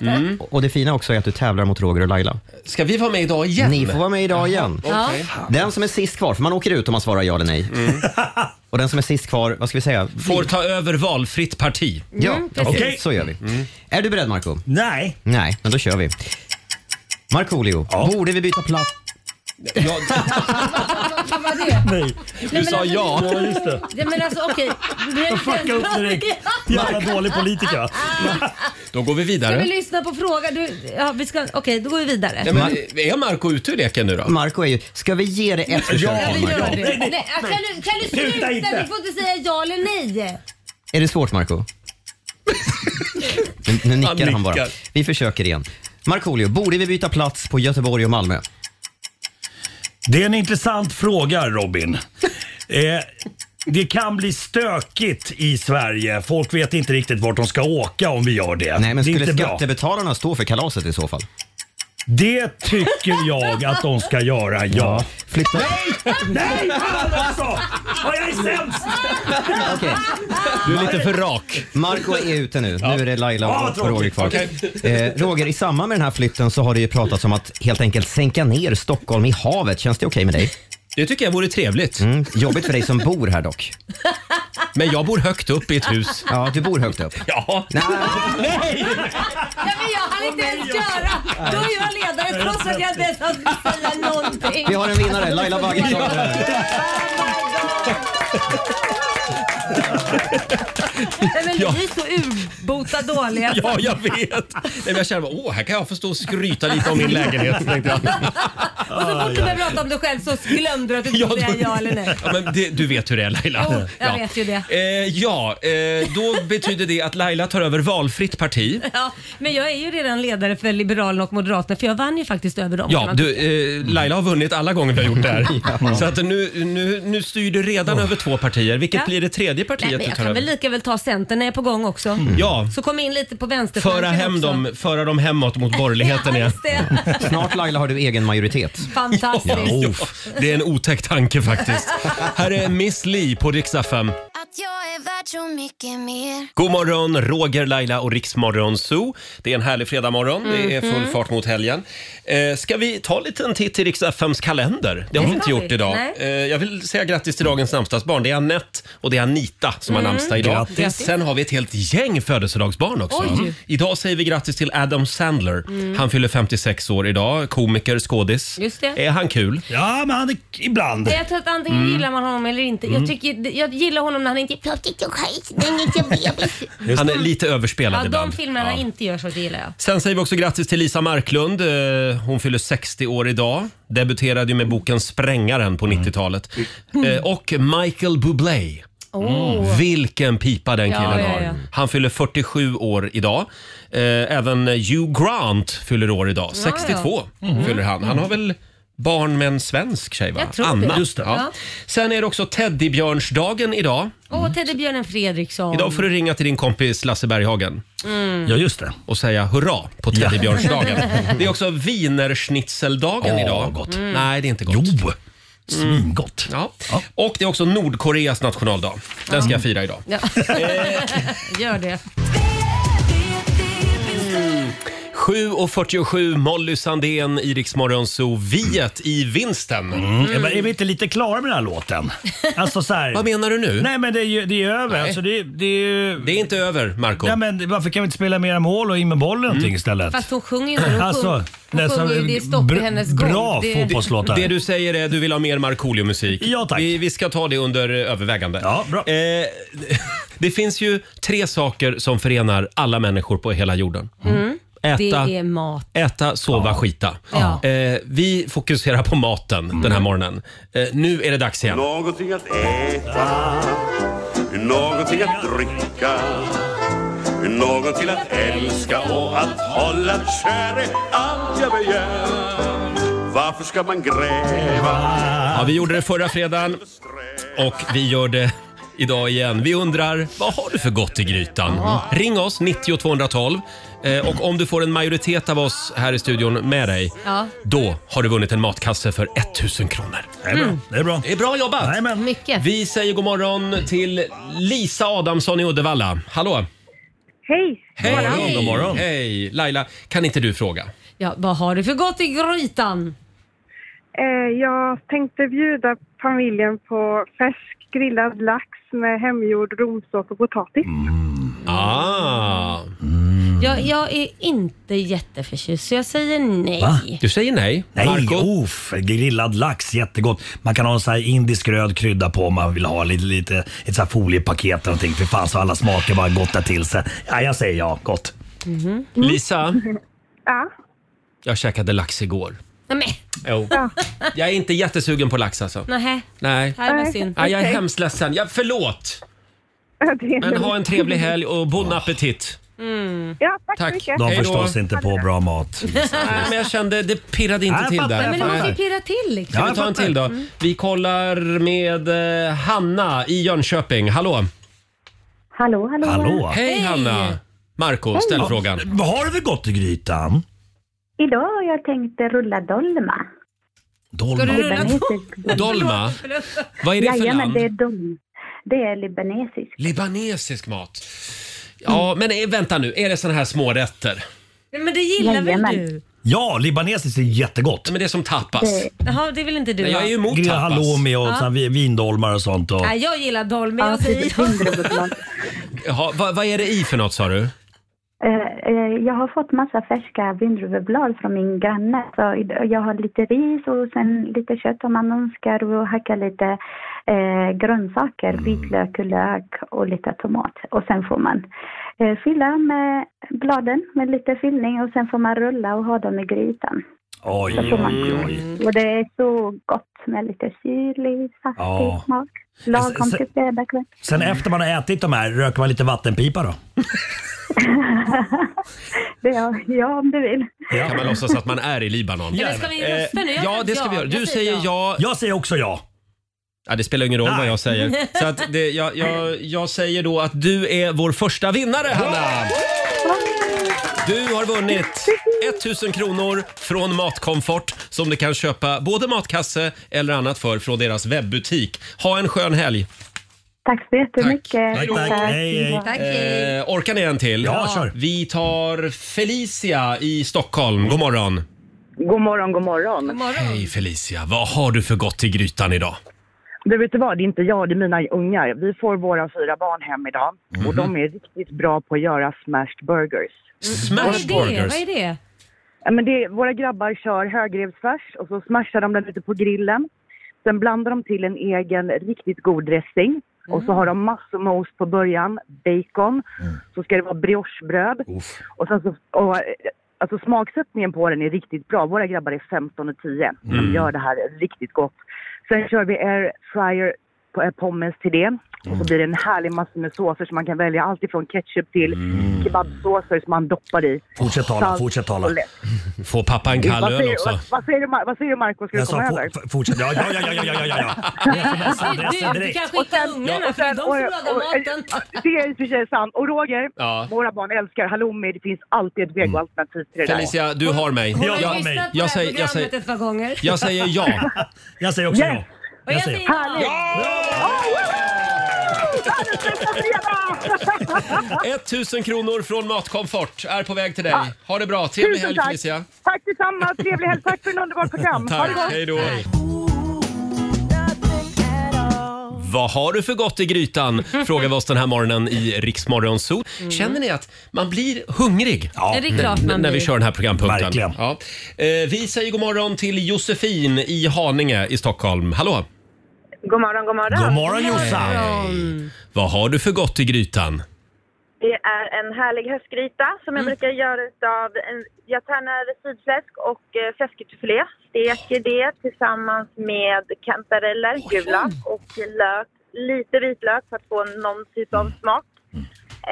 S1: Mm.
S5: Och det fina också är att du tävlar mot Roger och Laila.
S1: Ska vi vara med idag igen?
S5: Ni får vara med idag igen.
S1: Jaha,
S5: Den som är sist kvar, för man åker ut om man svarar ja eller nej. *laughs* Och den som är sist kvar, vad ska vi säga?
S1: Får ta över valfritt parti.
S5: Ja,
S1: Mm,
S5: okej,
S1: precis.
S5: så gör vi. Är du beredd Marco?
S11: Nej.
S5: Nej, men då kör vi. Markoolio, borde vi byta plats?
S2: Vad var det?
S11: Nej.
S2: Nej, men alltså, det- Ja, men alltså okej.
S11: Jag fuckade upp direkt.
S2: *laughs*
S11: Jävla dålig politiker. va?
S1: *laughs* Då går vi
S2: Ska vi
S1: vidare.
S2: lyssna på frågan? Du, ja, vi ska, okej, då går vi vidare.
S1: Nej, men, eh, är Marco ute ur leken nu då?
S5: Marco är ju... Ska vi ge det ett försök?
S2: Ja, vi gör
S5: Marco?
S2: det. Nej, kan, du, kan du
S5: Sluta
S2: sluta?
S5: inte.
S2: Du får inte säga ja eller nej.
S5: Är det svårt Marco? nu, nu nickar han,
S1: nickar.
S5: bara. Vi försöker igen. Markoolio, borde vi byta plats på Göteborg och Malmö?
S11: Det är en intressant fråga Robin. Eh, det kan bli stökigt i Sverige. Folk vet inte riktigt vart de ska åka om vi gör det.
S5: Nej, men
S11: det är
S5: skulle
S11: inte bra.
S5: skattebetalarna stå för kalaset i så fall?
S11: Det tycker jag att de ska göra, ja.
S5: Flytta.
S11: Nej, fan alltså! Vad jag är sämst!
S5: Okej.
S1: Du är lite för rak. Ah,
S5: Marco är ute nu. Nu är det Laila
S11: Ja,
S5: och,
S11: vad
S5: och Roger kvar.
S11: tråkigt.
S5: Eh, Roger, i samband med den här flytten så har det ju pratats om att helt enkelt sänka ner Stockholm i havet. Känns det okej med dig?
S1: Det tycker jag vore trevligt.
S5: Mm, jobbigt för dig som bor här dock.
S1: Men jag bor högt upp i ett hus.
S5: Ja, du bor högt upp. alltså,
S1: Ja. Nej!
S2: Ja, men jag hann inte ens göra. Då är jag ledare trots att jag inte ens har säga någonting.
S5: Vi har en vinnare, Laila Bagge.
S2: Nej, men
S1: Ja.
S2: Vi är så urbota dåliga.
S1: *laughs* Ja, jag vet. Nej, men jag känner bara, åh, här kan jag få stå och skryta lite om min lägenhet. Tänkte
S2: *laughs*
S1: jag.
S2: Och så fort du började prata om dig själv så glömde du att du skulle
S1: Ja,
S2: säga
S1: då-
S2: ja eller nej.
S1: Ja, men det, du vet hur det är Laila.
S2: Jo, jag
S1: ja.
S2: vet ju det. *laughs*
S1: Eh, ja, eh, då betyder det att Laila tar över valfritt parti.
S2: Ja, men jag är ju redan ledare för Liberalerna och Moderaterna för jag vann ju faktiskt över dem. kan
S1: Ja,
S2: man
S1: du, eh, Laila har vunnit alla gånger vi har gjort det
S5: *laughs*
S1: här. Så att nu, nu, nu styr du
S5: Oh.
S1: redan över två partier. Vilket
S2: Ja.
S1: blir det tredje
S2: tycka. Nej,
S1: partiet
S2: men
S1: du
S2: jag
S1: tar
S2: kan väl
S1: över? Mm.
S2: lika väl ta Centern när jag är på gång också.
S1: Ja.
S2: Så kom in lite på vänsterflanken
S1: Föra, hem
S2: också.
S1: dem, föra dem hemåt
S2: *laughs*
S1: mot borgerligheten igen.
S5: *laughs* Snart Laila har du egen majoritet.
S2: Fantastiskt.
S1: Ja, uff. det är en otäck tanke
S2: *laughs*
S1: faktiskt. Här är Miss Li på Rix FM.
S7: Att jag är värd så mycket mer.
S1: God morgon, Roger, Laila och Riksmorgon Zoo. Det är en härlig fredagmorgon. Det är full
S7: Mhm.
S1: fart mot helgen. Eh, ska vi ta en liten titt i Rix FMs kalender? Det har
S7: Det
S1: vi inte
S7: ska vi.
S1: gjort idag.
S7: Mm. Nej.
S1: Eh, jag vill säga grattis till dagens namnsdagsbarn. Det är Annette och det är Anita som har
S7: Mm.
S1: namnsdag idag.
S7: Grattis.
S1: Sen har vi ett helt gäng födelsedagsbarn också.
S7: Oj.
S1: Mm. Idag säger vi grattis till Adam Sandler.
S7: Mm.
S1: Han fyller 56 år idag. Komiker, skådis.
S2: Just det.
S1: Är han kul?
S11: Ja, men han är ibland.
S2: Jag tror att antingen
S1: Mm.
S2: gillar man honom eller inte.
S1: Mm.
S2: Jag, tycker, jag gillar honom när han inte är
S13: skit, den lilla bebis.
S1: Han är lite överspelad
S2: Ja, de
S1: ibland.
S2: filmerna inte gör så, det gillar jag.
S1: Sen säger vi också grattis till Lisa Marklund. Eh, Hon fyller 60 år idag. Debuterade ju med boken Sprängaren
S2: Mm.
S1: på 90-talet. Eh, Och Michael Bublé. Mm.
S7: Åh.
S1: Vilken pipa den
S7: Ja,
S1: killen
S7: ja, ja.
S1: har. Han fyller 47 år idag. Eh, Även Hugh Grant fyller år idag.
S7: Ja,
S1: 62
S7: ja. Mhm.
S1: fyller han. Han har väl barn med en svensk tjej va?
S2: Jag tror det.
S1: Anna.
S2: Just det. Ja.
S1: Sen är det också teddybjörnsdagen idag.
S2: Åh, Teddybjörnen Fredriksson.
S1: Mm. Idag får du ringa till din kompis Lasse Berghagen.
S2: Mm.
S1: Ja, just det. Och säga hurra på
S11: *laughs*
S2: Ja.
S1: teddybjörnsdagen. det är också wienerschnitzeldagen
S11: Åh,
S1: idag.
S11: gott.
S1: Mm. Nej, det är inte gott. Jo,
S11: svingott.
S1: Ja. Och det är också Nordkoreas nationaldag. Den ska jag fira idag.
S2: Ja. *laughs* gör det.
S1: 7.47, Molly Sandén, Iriks morgonzoo, viet i vinsten.
S11: Mm. Men Är vi inte lite klara med den här
S1: *laughs*
S11: låten? Alltså så här,
S1: Vad menar du nu?
S11: Nej men det är ju det är över.
S1: Nej.
S11: Alltså, det, är- det, är ju...
S1: det är inte över, Marco. Mm.
S11: Nej, men varför kan vi inte spela mera mål och in med bollen och någonting istället?
S2: Fast hon sjunger ju inte. Hon,
S11: Alltså,
S2: sjung, hon
S11: nästan-
S2: sjunger ju Det är stopp i
S11: br-
S2: hennes gång.
S11: bra
S2: det,
S11: fotbollslåtar.
S1: Det du säger är att du vill ha mer Markoolio-musik. Ja, tack. Vi, vi ska ta det under eh, övervägande. Ja, bra. Eh, *laughs* det finns ju tre saker som förenar alla människor på hela jorden.
S2: Mm.
S1: Äta.
S2: Det är mat.
S1: Äta, sova, skita.
S2: Ja.
S1: Eh, vi fokuserar på maten den här morgonen. Eh, nu är det dags igen.
S7: Någonting att äta, någonting att dricka Någon till att älska och att hålla kär är allt jag begär Varför ska man gräva?
S1: Ja, vi gjorde det förra fredagen och vi gör det idag igen. Vi undrar, vad har du för gott i grytan? Ring oss, 90 212. Eh, och om du får en majoritet av oss här i studion med dig,
S2: Ja.
S1: då har du vunnit en matkasse för 1000 kronor. Det
S2: är bra. Mm.
S1: Det är bra. Det är bra jobbat.
S2: Mycket.
S1: Vi säger god morgon till Lisa Adamsson i Uddevalla. Hallå!
S8: Hej!
S1: Hej! God *laughs* morgon. Hej! Laila, kan inte du fråga?
S2: Ja, vad har du för gott i grytan?
S8: Eh, jag tänkte bjuda familjen på färsk grillad lax med hemgjord romsås och potatis.
S11: Mm.
S1: Ah!
S2: Jag, jag är inte jätteförtjust så jag säger nej.
S11: Va?
S1: Du säger nej.
S11: Nej, uff, grillad lax, jättegott. Man kan ha en sån här indisk röd krydda på om man vill ha lite, lite ett så här foliepaket eller någonting. För fan så alla smaker bara gottar till sig. Ja, jag säger ja, gott.
S2: Mhm.
S1: Mm. Lisa,
S8: Ja.
S1: jag käkade lax igår.
S2: Nej, men,
S1: Jo. Jag är inte jättesugen på lax alltså.
S2: nej.
S1: Nej.
S2: Det här var synd.
S1: Nej, jag är
S2: Okej.
S1: hemskt ledsen. Jag, förlåt!
S8: är
S1: Men ha en
S8: lugnt.
S1: trevlig helg och bon appetit.
S8: Ja, tack,
S1: Tack.
S8: så mycket.
S1: Hej
S11: De
S1: då.
S11: förstås inte på bra mat.
S1: *laughs* Nej, men jag kände, det pirrade inte
S11: Nej, jag
S1: till
S11: fattar,
S1: där.
S11: jag
S2: Men
S1: Nej.
S2: man får ju pirra till liksom.
S1: Ska vi ta en till då?
S11: Mm.
S1: Vi kollar med eh, Hanna i Jönköping. Hallå!
S12: Hallå, hallå.
S1: Hej, Hanna! Marco,
S12: Hej.
S1: ställ
S12: Ja,
S1: frågan.
S11: Vad har du för gott i grytan?
S12: Idag har jag tänkt rulla dolma.
S11: Dolma?
S1: Dolma? Vad är det för
S12: Jajamän,
S1: land?
S12: det är dolma. Det är libanesisk.
S1: Libanesisk mat. Ja, men eh, vänta nu. Är det såna här smårätter?
S2: Nej, men det gillar
S12: Jajamän.
S2: väl du?
S11: Ja, libanesiskt är jättegott.
S1: Men det är som tapas.
S2: Jaha, det vill inte du va?
S11: Grillad halloumi och
S2: Ja.
S11: ja. vindolmar och sånt. Och...
S2: Nej, jag gillar dolmen. Jag säger ja.
S1: Jaha, vad, vad är det i för något sa du?
S12: Eh, eh, Jag har fått massa färska vindruveblad från min granne. Så id- jag har lite ris och sen lite kött om man önskar och hacka lite eh, grönsaker, vitlök och lök och lite tomat. Och sen får man eh, fylla med bladen med lite fyllning och sen får man rulla och ha dem i grytan.
S11: Oj,
S12: Så får man-
S11: oj, oj.
S12: Och det är så gott med lite syrlig, saftig
S11: Ja.
S12: smak. Lagom
S11: Sen-
S12: till fredagskväll.
S11: Sen efter man har ätit de här, röker man lite vattenpipa då?
S12: *laughs* Det är, ja, om du vill.
S1: Kan man låtsas att man är i Libanon?
S12: Eller ska vi rösta nu?
S1: Eh,
S12: Jag
S1: Ja,
S12: säger
S1: det ska
S12: ja.
S1: vi göra.
S12: Jag
S1: Du
S12: säger
S1: säger ja.
S11: Jag säger också ja.
S1: Ja, det spelar ingen roll vad jag säger. Så att det, jag, jag, jag säger då att du är vår första vinnare, Hanna! Du har vunnit 1000 kronor från Matkomfort som du kan köpa både matkasse eller annat för från deras webbutik. Ha en skön helg!
S12: Tack så jättemycket.
S1: Eh, orkar ni en till?
S12: Ja, kör.
S1: Vi tar Felicia i Stockholm. God morgon!
S14: God morgon, god morgon.
S1: Hej Felicia, vad har du för gott i grytan idag?
S14: Du vet du vad, det är inte jag, det är mina ungar. Vi får våra fyra barn hem idag och
S1: Mhm.
S14: de är riktigt bra på att göra smashed burgers.
S2: Vad är det? Vad är det?
S14: Ja, men det är, våra grabbar kör högrevsfärs och så smashar de den ute på grillen. Sen blandar de till en egen riktigt god dressing. Och så
S2: Mm.
S14: har de massor med ost på början, bacon, så ska det vara briochebröd. Och sen så, och, eh, alltså smaksättningen på den är riktigt bra. Våra grabbar är 15 och 10.
S7: Mm.
S14: De gör det här riktigt gott. Sen kör vi airfryer på- eh, pommes till det. Och
S11: Mm.
S14: så blir det en härlig massa med såser som man kan välja allt ifrån ketchup till kebabsåser som man doppar i.
S11: Mm. Fortsätt tala,
S14: Salt
S11: fortsätt
S14: och
S11: tala.
S14: lätt.
S1: Får pappa en
S14: Vad
S1: kall öl
S14: säger,
S1: också?
S14: Vad, vad, säger du, Mar- vad säger du Marco, ska du
S11: Jag
S14: komma
S11: sa
S14: över?
S11: for, for, fortsätt. Ja, ja, ja, ja, ja, ja, ja.
S2: Alltså, Du, du kan skicka ungarna, för det är de som lagar maten.
S14: Det är i och för sig sant. Och Roger,
S1: Ja. Mm.
S14: våra barn älskar halloumi. Det finns alltid ett vegoalternativ till det där.
S1: Felicia, du har mig.
S2: Hon
S1: Jag-
S2: har lyssnat på det
S1: jag,
S2: här
S1: säger, jag,
S2: programmet
S1: säger,
S2: ett par gånger.
S1: jag säger
S2: *laughs*
S1: ja.
S11: *laughs* Jag säger också
S1: ja.
S2: Och jag säger ja.
S14: Härligt!
S1: *laughs* 1000 kronor från Matkomfort är på väg till dig.
S14: Ja.
S1: Ha det bra. Trevlig
S14: Tusen
S1: helg
S14: tack.
S1: Felicia.
S14: *laughs* Tack detsamma. Trevlig helg. Tack för en underbar program. Ha det
S1: Tack,
S14: gott.
S1: hej då. Vad har du för gott i grytan? Frågar vi oss den här morgonen i Riksmorgon Zoo.
S14: Mm.
S1: Känner ni att man blir hungrig?
S2: Ja, det är klart
S1: N-
S2: man
S1: När vi
S2: blir.
S1: kör den här programpunkten.
S11: Verkligen.
S1: Ja. Eh, vi säger god morgon till Josefin i Haninge i Stockholm. Hallå!
S15: God morgon, god morgon.
S1: God morgon, Jossan. Vad har du för gott i grytan?
S15: Det är en härlig höstgryta som jag brukar göra utav en gärtärnar sidfläsk och eh, fläskfilé. Steker det tillsammans med kantareller, gula, och lök, lite vitlök för att få någon typ av smak.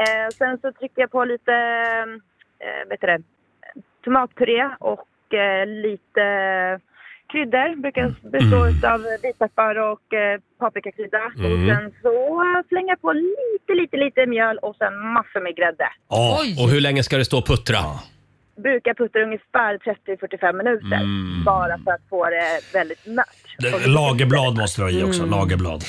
S15: Eh, sen så trycker jag på lite eh, vet du det, tomatpuré och eh, lite kryddor. Brukar bestå av vitpeppar och eh, paprikakrydda. Och
S1: Mm.
S15: sen så slänger jag på lite, lite, lite mjöl och sen massor med grädde.
S1: Ja. Och hur länge ska det stå och puttra?
S15: Brukar putta ungefär 30-45 minuter
S1: Mm.
S15: bara för att få det väldigt mört.
S11: Det- Lagerblad måste du ha i också.
S15: Mm.
S11: Lagerblad.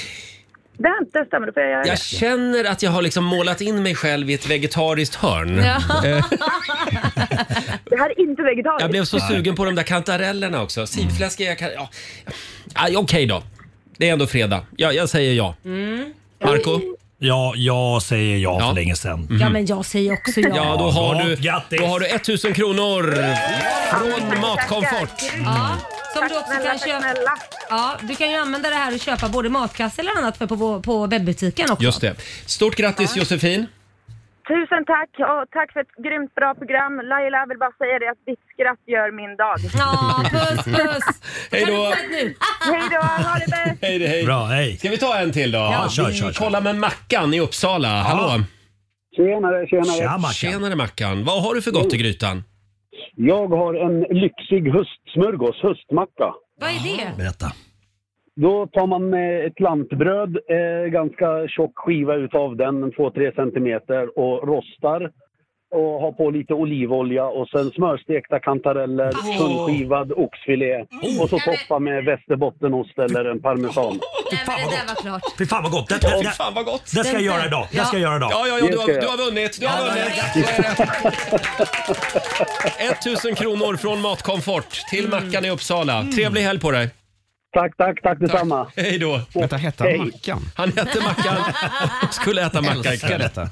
S15: Den, den stämmer, då får jag göra
S1: Jag
S15: det.
S1: känner att jag har liksom målat in mig själv i ett vegetariskt hörn.
S14: *laughs*
S15: Ja.
S1: Eh,
S15: Det här är inte vegetariskt.
S1: Jag blev så sugen på de där kantarellerna också. Sidfläsk är jag kan... Ja. Aj, Okej då. Det är ändå fredag. Ja, jag säger ja. Marco? Mm.
S11: Ja, jag säger ja, för länge sedan.
S2: Ja, men jag säger också ja.
S1: Ja, då har du, då har du 1000 kronor från Matkomfort.
S2: Ja, som du också kan köpa. Ja, du kan ju använda det här och köpa både matkasse eller annat för på, på, på webbutiken också.
S1: Just det. Stort grattis Josefin.
S15: Tusen tack och tack för ett grymt bra program. Laila, jag vill bara säga det att ditt skratt gör min dag.
S2: Ja, puss puss!
S1: *laughs* Hej då!
S15: Hej då, ha det bäst!
S1: Hej, då, hej.
S11: Bra, hej.
S1: Ska vi ta en till då?
S11: Ja, kör,
S1: vi
S11: kör, kör.
S1: kollar med Mackan i Uppsala. Hallå!
S16: Tjenare, tjenare.
S1: Tjenare Mackan. Vad har du för gott i grytan?
S16: Jag har en lyxig höstsmörgås, höstmacka.
S2: Vad är det?
S11: Berätta.
S16: Då tar man eh, ett lantbröd, eh, ganska tjock skiva utav den, 2-3 centimeter och rostar. Och har på lite olivolja och sen smörstekta kantareller, tunnskivad oxfilé
S2: Mm.
S16: och så toppa med västerbottenost eller en parmesan.
S2: Det där var klart.
S11: Fy fan vad gott. Det, det, det,
S1: fan vad gott.
S11: det ska jag göra idag. Det ska jag göra idag.
S1: Ja, ja, ja du, har, du har vunnit. Du har vunnit. Så är det. 1000 kronor från Matkomfort till Mackan i Uppsala. Trevlig helg på dig.
S16: Tack, tack, tack detsamma.
S1: Hej då.
S5: Vänta, hette
S1: Hej.
S5: han Mackan?
S1: Han hette Mackan. Skulle äta macka
S5: Älskar
S1: ikväll.
S5: detta.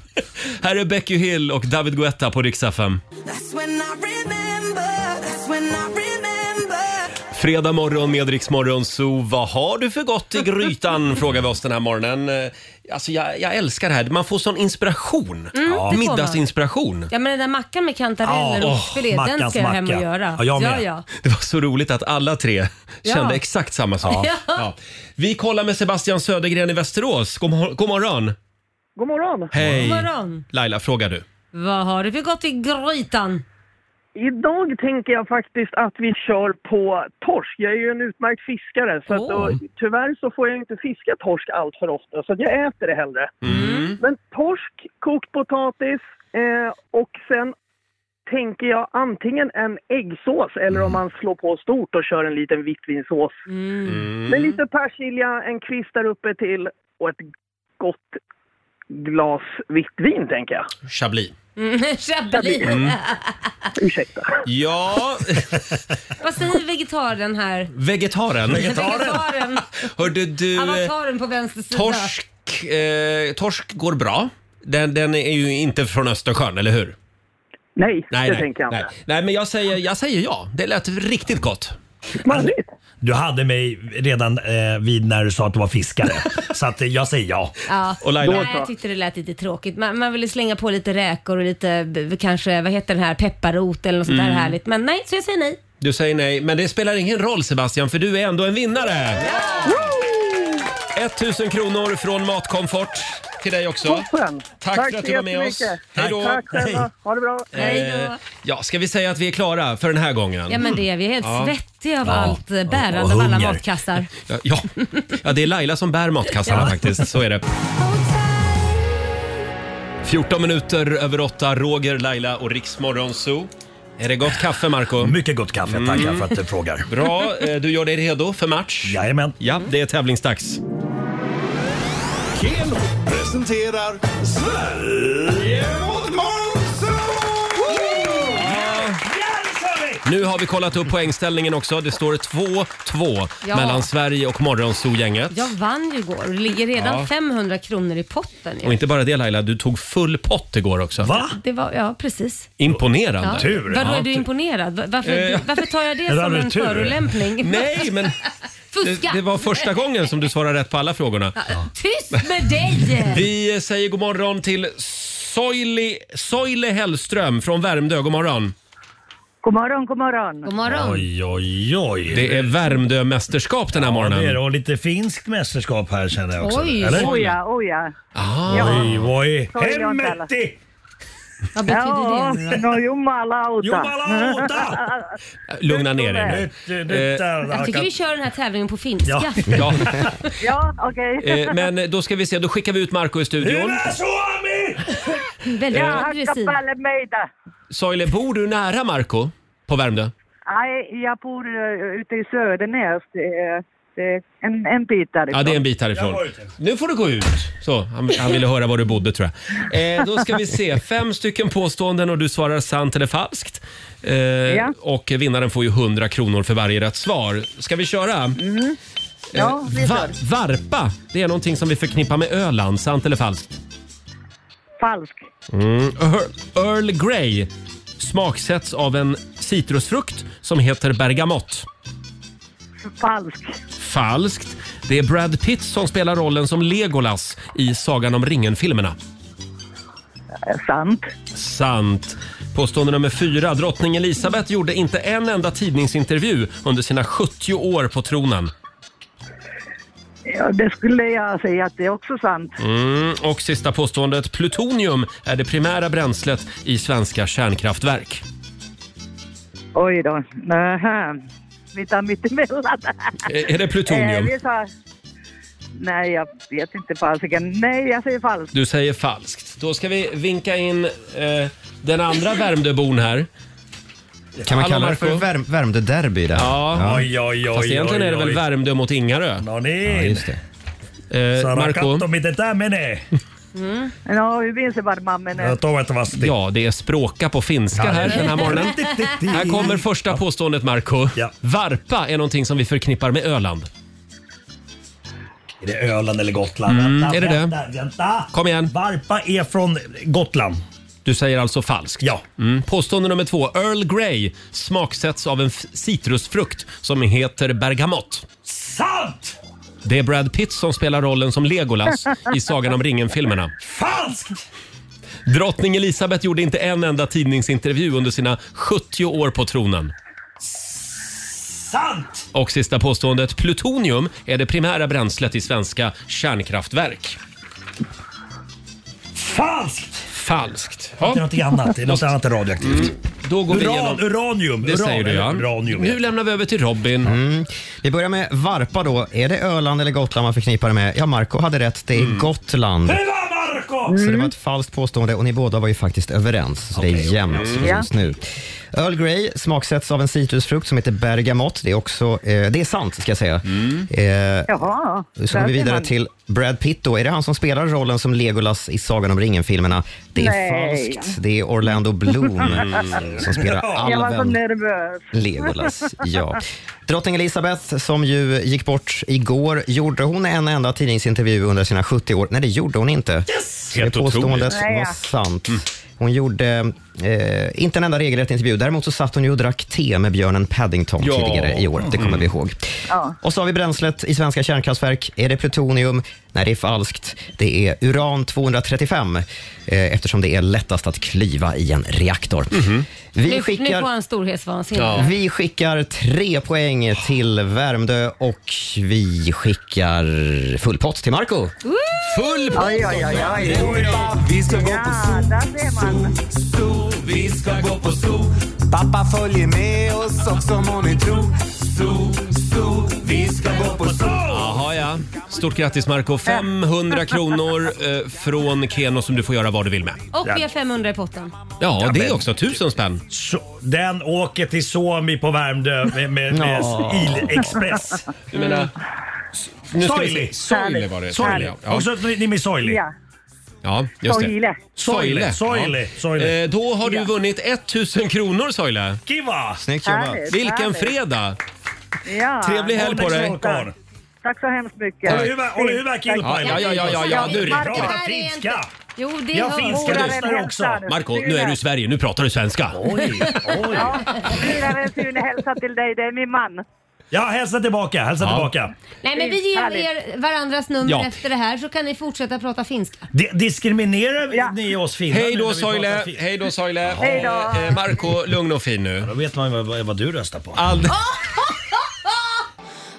S1: Här är Becky Hill och David Guetta på Rix FM.
S7: That's when I remember, that's when I remember.
S1: Fredag morgon med Rix Morgon Zoo. Vad har du för gott i grytan? frågar vi oss den här morgonen. Eh, Alltså jag, jag älskar det här. Man får sån inspiration.
S2: Mm, det får man.
S1: Middagsinspiration.
S2: Ja men den där mackan med kantareller och
S1: åh,
S2: oxfilé, den
S1: mackans
S2: ska jag hem
S1: macka.
S2: och göra.
S1: Ja, jag
S2: oh, ja,
S1: med.
S2: ja.
S1: Det var så roligt att alla tre
S2: Ja.
S1: kände exakt samma sak.
S2: Ja.
S1: Vi kollar med Sebastian Södergren i Västerås. God, mor- god morgon!
S14: God morgon.
S1: Hej!
S2: God morgon.
S1: Laila, frågar du.
S2: Vad har du för gott i grytan? *laughs*
S14: Idag tänker jag faktiskt att vi kör på torsk. Jag är ju en utmärkt fiskare så att då, tyvärr så får jag inte fiska torsk allt för ofta så att jag äter det hellre. Men torsk, kokt potatis eh, och sen tänker jag antingen en äggsås eller om man slår på stort och kör en liten vitvinsås.
S17: Mm.
S14: Med lite persilja, en kvist där uppe till och ett gott glas vitt vin tänker jag.
S1: Chablis.
S2: Mm, Chablis.
S1: Mm.
S14: Ursäkta.
S1: Ja,
S2: Vad säger vegetaren här?
S1: vegetaren.
S2: Vegetaren.
S1: Hörde *laughs* du, eh,
S2: Avataren på vänster sida.
S1: torsk, eh, torsk går bra. Den, den är ju inte från Östersjön, eller hur?
S14: Nej,
S1: nej
S14: det
S1: nej,
S14: tänker jag inte.
S1: nej. nej, men jag säger, jag säger ja. Det lät riktigt gott.
S14: Manligt!
S11: Du hade mig redan eh, vid när du sa att du var
S14: *laughs*
S11: fiskare. så att eh, jag säger ja.
S2: Ja.
S11: Och Laila?
S2: Nej, jag tyckte det lät lite tråkigt. Man, man ville slänga på lite räkor och lite b- b- kanske, vad heter den här, pepparrot eller något sånt
S1: Mm.
S2: där härligt. Men nej, så jag säger nej.
S1: Du säger nej, men det spelar ingen roll Sebastian för du är ändå en vinnare! 1000 kronor från Matkomfort till dig också.
S14: Toppen!
S1: Tack, för att du var med oss. Hej då!
S14: Tack själva. Ha det bra.
S1: Eh, ja, ska vi säga att vi är klara för den här gången?
S2: Ja men det är vi. är helt
S1: Ja.
S2: svettiga av
S1: Ja.
S2: allt eh, bärande
S1: Och
S2: av alla
S1: hunger.
S2: matkassar.
S1: Ja, ja. ja, det är Laila som bär matkassarna
S2: Ja.
S1: faktiskt. Så är det. 14 minuter över 8, Roger, Laila och Riksmorgon Zoo. Är det gott kaffe, Marco? Mm.
S11: Mycket gott kaffe, tackar för att du frågar.
S1: Bra, eh, du gör dig redo för match?
S11: Jajamän.
S1: Ja, det är tävlingsdags.
S7: Keno presenterar Sverige mot
S1: Nu har vi kollat upp poängställningen också. Det står 2-2
S2: Ja.
S1: mellan Sverige och Morgonzoo-gänget.
S2: Jag vann ju igår och det ligger redan
S1: Ja.
S2: 500 kronor i potten. ju.
S1: Och inte bara det Laila, du tog full pott igår också. Va?
S2: Det var, ja, precis.
S1: Imponerande.
S2: Ja. Vadå, är du imponerad? Va- Varför,
S1: Eh,
S2: varför tar jag det
S1: det där
S2: som
S1: är
S2: en
S1: tur.
S2: förolämpning?
S1: *laughs* Nej, men-
S2: *laughs* Fuska!
S1: Det, det
S18: *laughs*
S1: var första gången som du svarade rätt på alla frågorna.
S2: Ja, Tyst med dig!
S1: Vi säger god morgon till Soili, Soile Hellström från Värmdö. God morgon.
S18: God morgon, god morgon. God
S2: morgon. *laughs*
S11: Oj, oj, oj.
S1: Det är Värmdö-mästerskap den här morgonen.
S11: Det är det, och lite finskt mästerskap här känner jag också. Eller?
S18: Oj Oh ja, oj ja.
S1: Ah.
S18: Ja.
S11: Oj, oj.
S18: Så är jag inte alla.
S11: Hemmetti!
S2: Vad
S18: ja,
S11: det nu
S18: No, jumalauta.
S11: Jumalauta!
S1: Lugna ner er nu. Eh,
S2: Jag tycker Alltså, vi kör den här tävlingen på finska.
S1: Ja.
S2: *laughs*
S1: Ja.
S18: *laughs* ja, okej.
S1: Eh, Men då ska vi se, då skickar vi ut Marco i studion. Eh,
S18: Jag
S2: Väldigt
S18: hackar
S2: aggressiv.
S18: faller mig där.
S1: Soile, bor du nära Marco på Värmdö?
S18: Nej, jag bor eh, ute i Södernäs. Det är, det är en, en bit därifrån.
S1: Ja, det är en bit härifrån. Nu får du gå ut. Så, han, han ville höra var du bodde tror jag. Eh, då ska vi se, fem stycken påståenden och du svarar sant eller falskt. Eh,
S18: Ja.
S1: Och vinnaren får ju 100 kronor för varje rätt svar. Ska vi köra?
S18: Mm-hmm. Ja, vi
S1: Eh, va-
S18: kör.
S1: varpa, det är någonting som vi förknippar med Öland. Sant eller falskt?
S18: Falsk.
S1: Mm. Ear- Earl Grey smaksätts av en citrusfrukt som heter bergamott.
S18: Falsk.
S1: Falskt. Det är Brad Pitt som spelar rollen som Legolas i Sagan om ringen-filmerna.
S18: Sant.
S1: Sant. Påstående nummer fyra. Drottning Elisabeth gjorde inte en enda tidningsintervju under sina 70 år på tronen.
S18: Ja, det skulle jag säga att det är också sant.
S1: Mm. Och sista påståendet. Plutonium är det primära bränslet i svenska kärnkraftverk.
S18: Oj då. Nähä. Vi tar mittemellan.
S1: Är- är det plutonium?
S18: Eh, vi tar... Nej, jag vet inte falsken. Nej, jag säger falskt.
S1: Du säger falskt. Då ska vi vinka in eh, den andra Värmdöbon här.
S5: Kan man
S1: Hallå,
S5: kalla det för
S1: Marco?
S5: Värm- Värmdö-derby? där?
S1: Ja. Fast egentligen är det väl Värmdö mot Ingarö?
S11: No
S5: Ja,
S11: niin.
S5: just det.
S1: Eh, Marco?
S11: Sarakatto, miten tää menee?
S18: Mm. No, hyvin se varmaan menee.
S11: Toivottavasti.
S1: Ja, det är språka på finska här den
S5: *laughs*
S1: här morgonen. Här kommer första påståendet, Marco. Varpa är någonting som vi förknippar med Öland.
S11: Är det Öland eller Gotland?
S1: Mm,
S11: vänta,
S1: är det det?
S11: vänta, vänta.
S1: Kom igen.
S11: Varpa är från Gotland.
S1: Du säger alltså falskt? Ja. Mm. Påstående nummer två. Earl Grey smaksätts av en f- citrusfrukt som heter bergamott.
S11: Sant!
S1: Det är Brad Pitt som spelar rollen som Legolas i Sagan om ringen-filmerna.
S11: Falskt!
S1: Drottning Elisabeth gjorde inte en enda tidningsintervju under sina 70 år på tronen.
S11: Sant!
S1: Och sista påståendet. Plutonium är det primära bränslet i svenska kärnkraftverk.
S11: Falskt!
S1: Falskt.
S11: Det är något annat. Det är något annat än radioaktivt.
S1: Mm. Då går vi
S11: Uran,
S1: igenom-
S11: Uranium.
S1: Det
S11: uran,
S1: säger du, ja.
S11: eller Uranium.
S1: Nu lämnar vi över till Robin.
S5: Mm. Vi börjar med Varpa då. Är det Öland eller Gotland man förknippar det med? Ja, Marco hade rätt. Det är
S1: Mm.
S5: Gotland. Så det var ett falskt påstående och ni båda var ju faktiskt överens. Så det är jämnt
S18: Mm. okej. Mm.
S5: just nu. Earl Grey smaksätts av en citrusfrukt som heter bergamott. Det är också, eh, det är sant ska jag säga. Eh,
S18: Jaha.
S5: så går
S18: Mm. där
S5: vi
S18: ser
S5: vidare
S18: man.
S5: till Brad Pitt. Då. Är det han som spelar rollen som Legolas i Sagan om ringen-filmerna? Det är
S18: Nej.
S5: falskt. Det är Orlando
S18: *laughs*
S5: Bloom
S18: Mm.
S5: som spelar
S18: Jag var så
S5: alven
S18: nervös.
S5: Legolas, ja. Drottning Elisabeth som ju gick bort igår, gjorde hon en enda tidningsintervju under sina 70 år? Nej, det gjorde hon inte. Yes!
S1: Helt
S5: det påståendet
S1: otroligt.
S7: Mm.
S5: var sant. Hon gjorde eh, inte en enda regelrätt intervju. Däremot så satt hon ju och drack te med björnen Paddington
S7: Ja.
S5: tidigare i år. Det kommer
S7: Mm.
S5: vi ihåg. Och så har vi bränslet i svenska kärnkraftverk. Är det plutonium? Nej, det är falskt. Det är uran-235 eh, eftersom det är lättast att klyva i en reaktor.
S7: Mhm.
S5: Vi
S2: nu, nu
S5: skickar...
S2: får han storhetsvansinne.
S5: Vi skickar tre poäng till Värmdö och vi skickar full pott till Marco.
S7: Full pott!
S5: Aj, aj, aj, aj.
S7: Vi ska gå på zoo, zoo, zoo. Vi ska gå på zoo. Pappa följer med oss också må ni tro. Zoo, zoo. Vi ska gå på zoo.
S1: Jaha, ja. Stort grattis
S18: *laughs*
S1: Marco 500 kronor eh, från Keno som du får göra vad du vill med.
S2: Och vi har 500 i potten.
S1: Ja, det är också. Tusen spänn.
S11: Så, den åker till Suomi på Värmdö med, med, med Mm.
S1: Ja.
S11: ilexpress.
S1: Du menar- Nu ska vi se.
S11: Soily.
S1: Soily var det. Soily, ja. Ja.
S11: Och så ni ni med Soily.
S18: Ja.
S1: Ja, just det.
S18: Soile.
S1: Soile.
S11: Soile,
S1: Ja.
S11: Soile.
S1: Eh, då har du vunnit 1000 kronor Soile.
S11: Kiva!
S5: Snyggt
S18: jobbat. Härligt,
S1: Vilken
S18: härligt.
S1: fredag!
S18: Ja.
S1: Trevlig helg på dig.
S18: Tack så hemskt mycket.
S1: Håll i huvudet, håll i huvudet, killpojkar. Ja, ja, ja, ja, ja, nu räcker det.
S11: Prata finska!
S2: Jo, det
S11: Jag
S2: hör-
S11: finska
S2: Våra
S11: lyssnar
S2: vänner
S11: också.
S18: hälsar.
S1: Marco, nu är du i Sverige. Nu pratar du svenska.
S18: Ja, Dyrare Sune, hälsa till dig. Det är min man.
S11: Ja, hälsa tillbaka. Hälsa tillbaka.
S2: Nej men vi ger
S18: Härligt.
S2: er varandras nummer
S11: Ja.
S2: efter det här så kan ni fortsätta prata finska.
S11: Di- diskriminerar vi- ni oss finnar nu
S1: Hej då
S11: när vi pratar
S1: Soile,
S11: fin-
S1: hej då Soile.
S11: Hej då.
S1: Eh, eh, Marco, lugn och fin nu. Då
S11: vet man vad, du röstar på.
S1: All...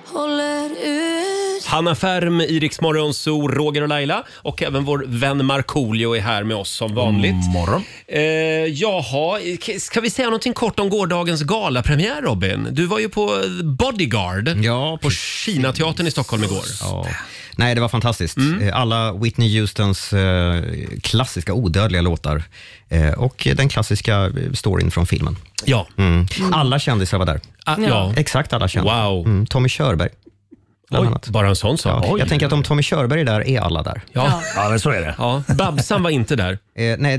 S2: Håller ut.
S1: Hanna Färm, i Rix Morgon Zoo, Roger och Laila och även vår vän Markoolio är här med oss som vanligt.
S11: Morgon.
S1: Eh, jaha, k- ska vi säga någonting kort om gårdagens galapremiär Robin? Du var ju på Bodyguard på Kinateatern i Stockholm igår.
S5: Ja. Nej, det var fantastiskt.
S1: Mm.
S5: Eh, Alla Whitney Houstons eh, klassiska odödliga låtar eh, och den klassiska eh, storyn från filmen.
S1: Ja.
S5: Mm. Alla kändisar var där.
S1: Ah, ja.
S5: Exakt alla kändisar.
S1: Wow.
S5: Mm. Tommy Körberg.
S1: Oj, bara en sån sak.
S5: Ja,
S1: Oj.
S5: jag tänker att om Tommy Körberg är där är alla där.
S1: Ja,
S11: ja men så är det.
S1: Ja. Babsan var
S5: *laughs*
S1: inte där.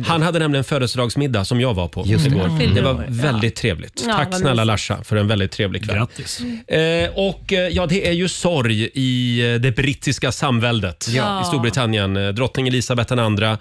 S1: Han hade nämligen födelsedagsmiddag som jag var på
S5: Eh, Just det.
S1: igår.
S5: Mm.
S1: Det var väldigt trevligt.
S5: Ja,
S1: Tack
S5: vad
S1: snälla
S5: mysigt.
S1: Larsa för en väldigt trevlig kväll.
S11: Grattis.
S1: Eh, och eh, ja, det är ju sorg i eh, det brittiska samväldet
S7: Ja.
S1: i Storbritannien. Eh, Drottning Elisabeth II eh,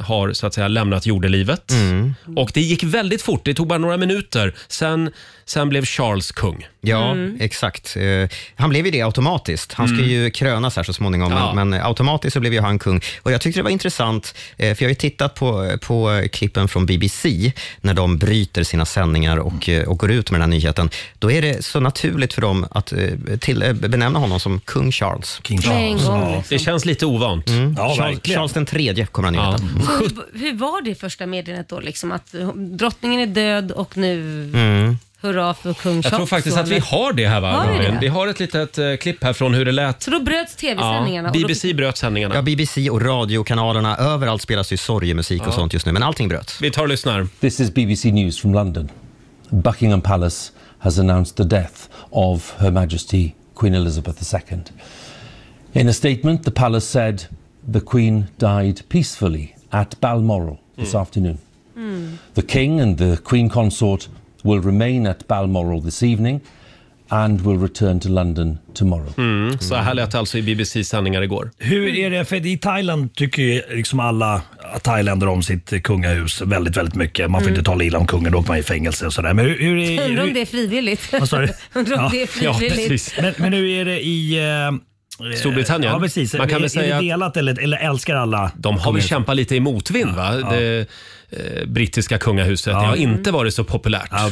S1: har så att säga lämnat jordelivet.
S5: Mm.
S1: Och det gick väldigt fort. Det tog bara några minuter. Sen, sen blev Charles kung.
S5: Ja,
S1: Mm.
S5: exakt. Eh, han blev ju det automatiskt. Han skulle ju krönas här så småningom,
S1: Ja.
S5: men, men automatiskt så blev ju han kung. Och jag tyckte det var intressant, eh, för jag har ju tittat på, på eh, klippen från BBC, när de bryter sina sändningar och, eh, och går ut med den här nyheten. Då är det så naturligt för dem att eh, till, eh, benämna honom som kung Charles. King
S2: Charles, Med en gång, ja. liksom.
S1: Det känns lite ovant. Mm.
S5: Charles,
S1: verkligen.
S5: Charles den tredje kommer han ju heta.
S2: Så hur, hur var det första meddelandet då liksom att drottningen är död och nu
S1: Mm.
S2: hurra för kung
S1: Jag tror
S2: Charles,
S1: faktiskt
S2: då,
S1: att vi
S2: eller?
S1: har det här va,
S2: Har vi
S1: Robin?
S2: det?
S1: Vi har ett litet eh, klipp här från hur det lät.
S2: Så då bröts tv-sändningarna.
S5: Ja,
S2: och då-
S5: BBC
S1: bröt sändningarna.
S5: Ja, BBC och radiokanalerna. Överallt spelas ju sorgemusik och sånt just nu, men allting bröts.
S1: Vi tar och lyssnar.
S19: This is BBC News from London. Buckingham Palace has announced the death of Her Majesty Queen Elizabeth II. In a statement, the palace said the Queen died peacefully at Balmoral this afternoon.
S1: Mm.
S19: The King and the Queen Consort will remain at Balmoral this evening and will return to London tomorrow.
S1: Mm. Så här lät det alltså i BBC sändningar igår.
S11: Hur är det? För i Thailand tycker ju liksom alla thailändare om sitt kungahus väldigt, väldigt mycket. Man får
S2: Mm.
S11: inte tala illa om kungen, då åker man i fängelse och sådär. Men hur, hur är
S2: Undrar om
S11: hur,
S2: *laughs* det är frivilligt.
S11: Vad
S2: *laughs*
S11: sa du?
S2: Undrar om
S11: Ja.
S2: det är frivilligt.
S11: Ja, precis. Men, men hur är det i... eh,
S1: Storbritannien?
S11: Ja, precis.
S1: Man kan
S11: är,
S1: väl säga
S11: är
S1: att-
S11: det delat eller, eller älskar alla?
S1: De har väl kämpat lite i motvind, va? Det eh, brittiska kungahuset. Det har inte varit så populärt
S11: Ah,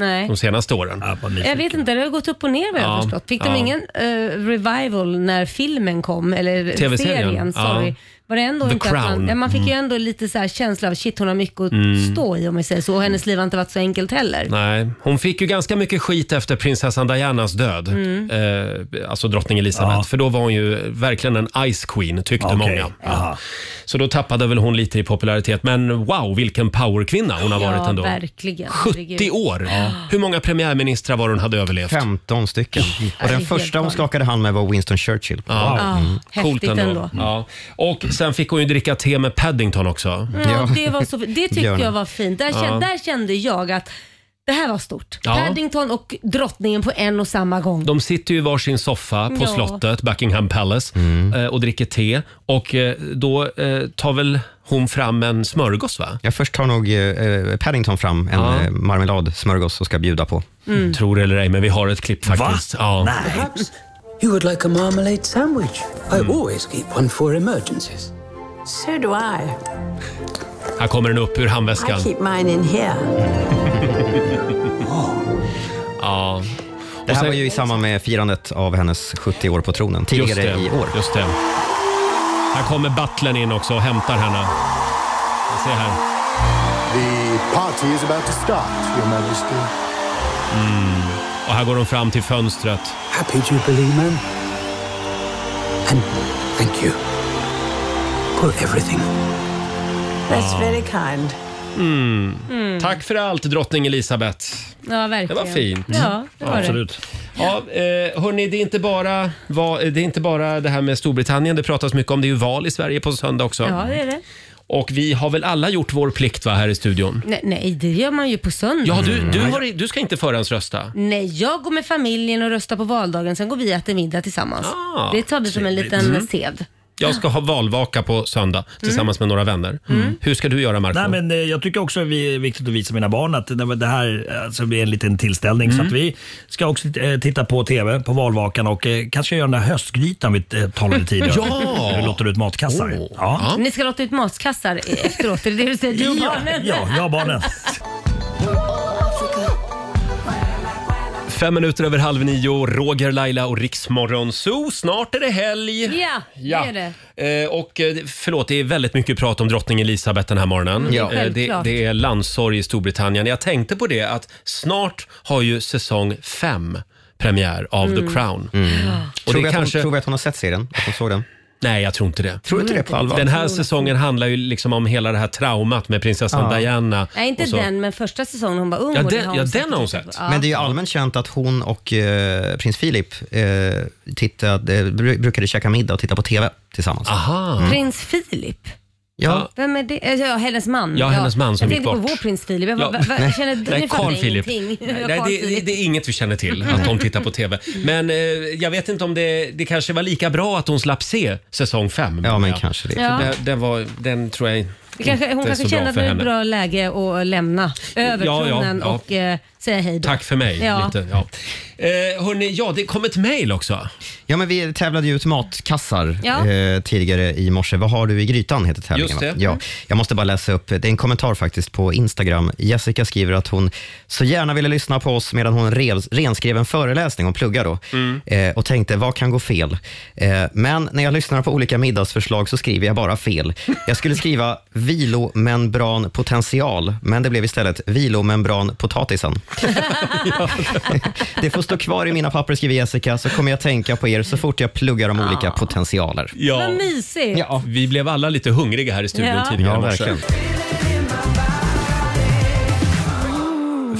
S2: Nej.
S1: de senaste åren.
S2: Jag vet inte, det har gått upp och ner vad jag
S1: Ja,
S2: har förstått. Fick
S1: ja.
S2: de ingen eh, revival när filmen kom? Eller
S1: TV-serien,
S2: serien, sorry.
S1: ja.
S2: Var det ändå
S1: The
S2: inte att man,
S1: Crown.
S2: ja, man fick ju
S1: Mm.
S2: ändå lite så här känsla av shit hon har mycket att
S1: Mm.
S2: stå i om vi säger så. Och hennes liv har inte varit så enkelt heller.
S1: Nej, hon fick ju ganska mycket skit efter prinsessan Dianas död.
S2: Mm.
S1: Eh, alltså drottning Elisabeth. För då var hon ju verkligen en ice queen, tyckte
S11: Ah, Okej.
S1: många. Så då tappade väl hon lite i popularitet. Men wow, vilken powerkvinna hon har varit
S2: ja,
S1: ändå.
S2: verkligen.
S1: 70 år! Hur många premiärministrar var hon hade överlevt?
S5: 15 stycken. Och
S1: det är
S5: den
S1: helt
S5: första hon
S1: galet.
S5: skakade hand med var Winston Churchill. Mm.
S1: Ja.
S2: häftigt
S1: Coolt ändå. Mm.
S2: ändå.
S1: Ja. Och sen fick hon ju dricka te med Paddington också.
S2: Ja, det, var så, det tyckte
S1: Björn.
S2: jag var fint. Där,
S1: Ja.
S2: kände, där kände jag att det här var stort.
S1: Ja.
S2: Paddington och drottningen på en och samma gång.
S1: De sitter ju i varsin soffa på
S2: Ja.
S5: Mm.
S1: slottet, Buckingham Palace, eh, och dricker te. Och eh, då eh, tar väl hon fram en smörgås va?
S5: Ja, först tar nog eh, Paddington fram en
S1: Ja.
S5: eh, marmeladsmörgås och ska bjuda på.
S1: Mm. Tror det eller ej, men vi har ett klipp faktiskt. Ja.
S20: Perhaps you would like a marmalade sandwich. I
S1: Mm.
S20: always keep one for emergencies.
S21: So do I.
S1: Här kommer den upp ur
S21: I
S1: handväskan.
S21: keep mine in here.
S1: Ja.
S5: Det här var ju i samband med firandet av hennes 70 år på tronen
S1: Just
S5: tidigare
S1: det,
S5: i år.
S1: Just det. Här kommer butlern in också och hämtar henne. Vi ser här.
S17: The party is about to start, Your Majesty.
S1: Mm. Och här går hon fram till fönstret.
S20: Happy Jubilee, ma'am. And thank you for everything.
S21: That's very kind.
S1: Mm.
S2: Mm.
S1: Tack för allt drottning Elisabeth.
S2: Ja, verkligen.
S1: Det var fint. Mm.
S2: Ja, det var
S1: Ja, eh, hörni, det är, inte bara, va, det är inte bara det här med Storbritannien det pratas mycket om. Det är ju val i Sverige på söndag också.
S2: det. Ja, det är det.
S1: Och vi har väl alla gjort vår plikt va, här i studion?
S2: Nej, nej, det gör man ju på söndag.
S1: Ja,
S11: Mm.
S1: du, du, har, du ska inte förhandsrösta.
S2: Nej, jag går med familjen och röstar på valdagen, sen går vi och äter middag tillsammans.
S1: Ah,
S2: det tar vi som en
S1: trevligt.
S2: liten
S1: Mm.
S2: sed.
S1: Jag ska ha valvaka på söndag
S2: Mm.
S1: tillsammans med några vänner. Hur ska du göra Marco?
S11: Nej, men eh, jag tycker också att det är viktigt att visa mina barn att det det här alltså, blir en liten tillställning.
S1: Mm.
S11: Så att vi ska också eh, titta på TV på valvakan och eh, kanske göra den där höstgrytan vi eh, talade
S1: *laughs*
S11: tidigare om.
S2: Ja!
S11: Där Vi låter ut matkassar. Ja.
S2: Ni ska låta ut matkassar efteråt, är det det du säger? Du och
S11: Ja,
S2: barnen?
S11: ja, jag och barnen.
S1: Fem minuter över halv nio, Roger, Laila och Riksmorgon Zoo. Snart är det helg.
S2: Ja, det är det.
S1: Eh, och eh, förlåt, det är väldigt mycket prat om drottning Elisabeth den här morgonen.
S2: Mm, Ja.
S1: Eh, det,
S2: självklart.
S1: det är landssorg i Storbritannien. Jag tänkte på det att snart har ju säsong fem premiär av
S5: Mm.
S1: The Crown. Och
S5: Tror, vi
S1: det
S5: att hon,
S1: kanske...
S5: tror vi att hon har sett serien? Att hon såg den?
S1: Nej, jag tror inte det.
S5: Tror du inte det på allvar?
S1: Den här säsongen handlar ju liksom om hela det här traumat med prinsessan
S5: Ja.
S1: Diana.
S2: Nej, inte
S1: och så.
S2: den, men första säsongen hon var ung.
S1: Ja,
S2: och det
S1: den-
S2: har hon
S1: Mm. ja,
S2: säkert
S1: den har hon
S2: tittat på.
S1: sett.
S2: Ja.
S5: Men det är ju allmänt känt att hon och eh, prins Philip eh, tittade, eh, bru- brukade käka middag och titta på TV tillsammans.
S1: Aha.
S5: Mm.
S2: Prins Filip.
S5: Ja.
S2: Vem är det? Ja, hennes man.
S5: Ja, hennes man som
S2: jag
S5: gick
S2: tänkte på
S5: bort.
S2: vår prins Filip. Jag,
S1: Ja.
S2: ja. va, va, jag känner,
S1: Nej,
S2: ni
S1: Carl
S2: fattar
S1: Philip.
S2: *laughs* ingenting.
S1: Nej,
S2: Ja,
S1: det,
S2: Carl
S1: det,
S2: Philip.
S1: det är inget vi känner till, att de tittar
S2: *laughs*
S1: på TV. Men eh, jag vet inte om det, det kanske var lika bra att hon slapp se säsong fem. Ja, men
S5: kanske
S2: det. Ja.
S1: Den, var, den tror jag
S2: Det kanske, hon
S1: inte är
S2: kanske
S1: så
S2: kände
S1: bra för
S2: att det var ett
S1: henne.
S2: bra läge att lämna över
S1: Ja, ja,
S2: tronen
S1: ja.
S2: och eh, säga hej då.
S1: Tack för mig.
S2: Ja.
S1: Lite, ja. Eh, hörni, ja, det kom ett mejl också.
S5: Ja, men vi tävlade ju ut matkassar
S1: Ja.
S5: eh, tidigare i morse. Vad har du i grytan? heter tävlingen.
S1: Just det. Mm.
S5: va? Ja, jag måste bara läsa upp. Det är en kommentar faktiskt på Instagram. Jessica skriver att hon så gärna ville lyssna på oss medan hon rev, renskrev en föreläsning, hon pluggar då,
S1: Mm.
S5: eh, och tänkte vad kan gå fel? Eh, men när jag lyssnar på olika middagsförslag så skriver jag bara fel. Jag skulle skriva vilomembranpotential, men det blev istället vilomembranpotatisen. Det får stå kvar i mina papper, skriver Jessica, så kommer jag tänka på er så fort jag pluggar om olika
S2: Ah.
S5: potentialer.
S2: Vad mysigt.
S1: Ja. Vi blev alla lite hungriga här i studion
S2: Ja.
S1: tidigare
S5: Ja,
S1: i morse.
S5: verkligen.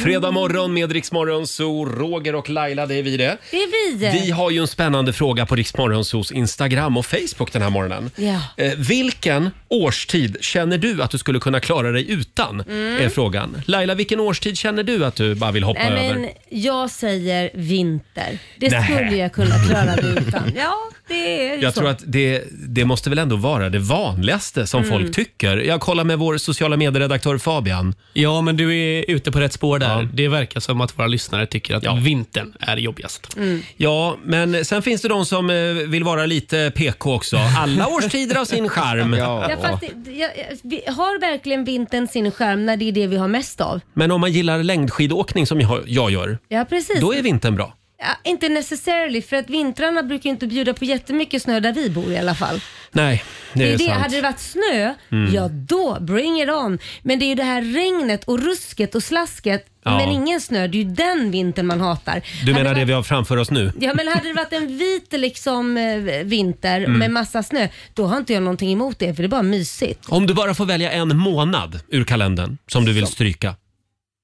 S1: Fredag morgon med Riksmorgon, så Roger och Laila, det är vi det.
S2: Det är vi.
S1: Vi har ju en spännande fråga på Riksmorgonsos Instagram och Facebook den här morgonen.
S2: Ja.
S1: Eh, vilken årstid känner du att du skulle kunna klara dig utan?
S2: Mm.
S1: Är frågan. Laila, vilken årstid känner du att du bara vill hoppa
S2: Nej,
S1: över?
S2: men jag säger vinter. Det
S1: Nähä.
S2: skulle jag kunna klara mig
S1: *laughs*
S2: utan. Ja, det är ju
S1: Jag
S2: så.
S1: tror att det, det måste väl ändå vara det vanligaste som
S2: Mm.
S1: folk tycker. Jag kollar med vår sociala medieredaktör Fabian.
S10: Ja, men du är ute på rätt spår där. Det verkar som att våra lyssnare tycker att vintern är jobbigast.
S2: Mm.
S1: Ja, men sen finns det de som eh, vill vara lite PK också. Alla årstider har sin charm.
S2: *laughs* Ja, fast det, jag, jag, vi har verkligen vintern sin skärm när det är det vi har mest av?
S1: Men om man gillar längdskidåkning som jag, jag gör,
S2: Ja, precis.
S1: då är vintern bra.
S2: ja, inte necessarily, för att vintrarna brukar ju inte bjuda på jättemycket snö där vi bor i alla fall.
S1: Nej, det,
S2: Det
S1: är
S2: är det.
S1: sant.
S2: Hade det varit snö,
S1: Mm.
S2: ja då, bring it on. Men det är ju det här regnet och rusket och slasket,
S1: Ja.
S2: men ingen snö. Det är ju den vintern man hatar.
S1: Du
S2: Hade
S1: menar
S2: varit-
S1: det vi har framför oss nu?
S2: Ja men hade det varit en vit liksom, eh, vinter
S1: Mm.
S2: med massa snö, då har inte jag någonting emot det för det är bara mysigt.
S1: Om du bara får välja en månad ur kalendern som du vill stryka.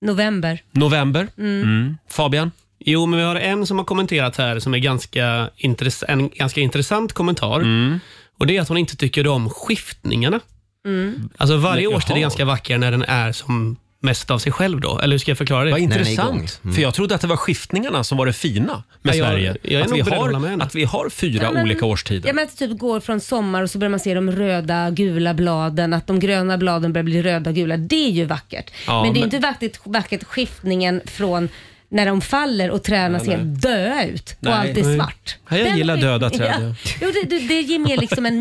S2: November.
S1: November?
S2: Mm.
S1: Fabian?
S10: Jo, men vi har en som har kommenterat här som är ganska intress- en ganska intressant kommentar.
S1: Mm.
S10: Och Det är att hon inte tycker om skiftningarna.
S2: Mm.
S10: Alltså Varje
S1: Men,
S10: årstid är
S1: jaha.
S10: ganska vacker när den är som mest av sig själv då? Eller hur ska jag förklara det?
S1: Vad intressant,
S5: Mm.
S1: för jag trodde att det var skiftningarna som var det fina
S10: Ja,
S1: med
S10: jag-
S1: Sverige.
S10: jag är
S1: att,
S10: nog
S1: vi
S10: beredd att hålla
S1: har,
S10: med
S1: att vi har fyra
S2: Ja, men-
S1: olika årstider.
S2: Ja, men att det typ går från sommar och så börjar man se de röda, gula bladen, att de gröna bladen börjar bli röda, gula. Det är ju vackert.
S1: Ja,
S2: men det är ju
S1: men-
S2: inte vackert, vackert skiftningen från när de faller och träden
S1: Nej,
S2: ser
S1: nej.
S2: döda ut och
S1: Nej.
S2: allt är
S1: Nej.
S2: svart.
S1: Ja, jag
S2: Den
S1: gillar
S2: skiftningen-
S1: döda träd,
S2: *laughs* Ja. Jo, det, det, det ger mer liksom en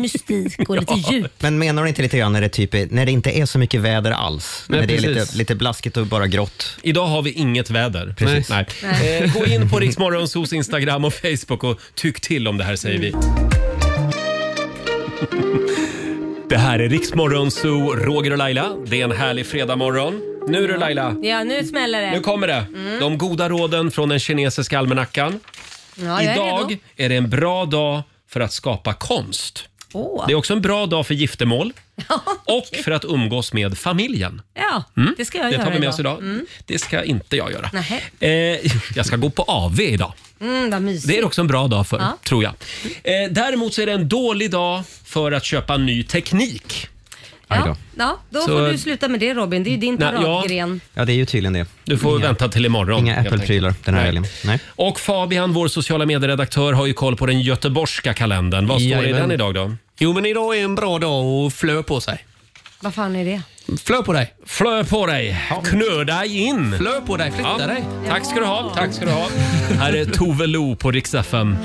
S1: *laughs*
S2: mystik och lite djup.
S5: Men menar du inte lite grann när det, typ är, när det inte är så mycket väder alls?
S1: Nej,
S5: när det är
S1: precis.
S5: lite, lite blaskigt och bara grått?
S1: Idag har vi inget väder.
S5: Precis.
S1: Nej.
S5: Nej.
S1: Eh, gå in på Riksmorgonsos Instagram och Facebook och tyck till om det här säger
S10: Mm.
S1: vi. Det här är Riksmorgonso, Roger och Laila. Det är en härlig fredagmorgon. Nu är det Laila.
S2: Ja, nu smäller det.
S1: Nu kommer det.
S2: Mm.
S1: De goda råden från den kinesiska almanackan.
S2: Ja, jag är
S1: Idag
S2: redo.
S1: är det en bra dag för att skapa konst.
S2: Åh.
S1: Det är också en bra dag för giftermål
S2: *laughs*
S1: och för att umgås med familjen.
S2: Ja,
S1: Mm.
S2: det ska jag
S1: Det
S2: göra
S1: tar vi med oss idag.
S2: Mm.
S1: Det ska inte jag göra.
S2: Nähä.
S1: Eh, jag ska gå på AV idag.
S2: Mm, vad mysigt.
S1: Det är också en bra dag för,
S2: Ja.
S1: tror jag. Eh, däremot så är det en dålig dag för att köpa ny teknik.
S2: Ja, ja då
S1: Så-
S2: får du sluta med det Robin. Det är ju din
S1: Nej, ja.
S2: paradgren.
S5: Ja, det är ju tydligen det.
S1: Du får vänta till imorgon.
S5: Inga
S1: helt
S5: Apple-prylar den här
S1: Nej.
S5: helgen. Nej.
S1: Och Fabian, vår sociala medieredaktör, har ju koll på den göteborgska kalendern. Vad står det i
S10: Jajamän.
S1: den idag då?
S10: Jo, men idag är en bra dag att flö på sig.
S2: Vad fan är det?
S10: Flö på dig.
S1: Flö på dig. Knö dig in.
S10: Flö på dig. Flytta
S1: Ja.
S10: dig.
S1: Tack ska du ha. Tack ska du ha. Här är Tove Lo på Rix FM.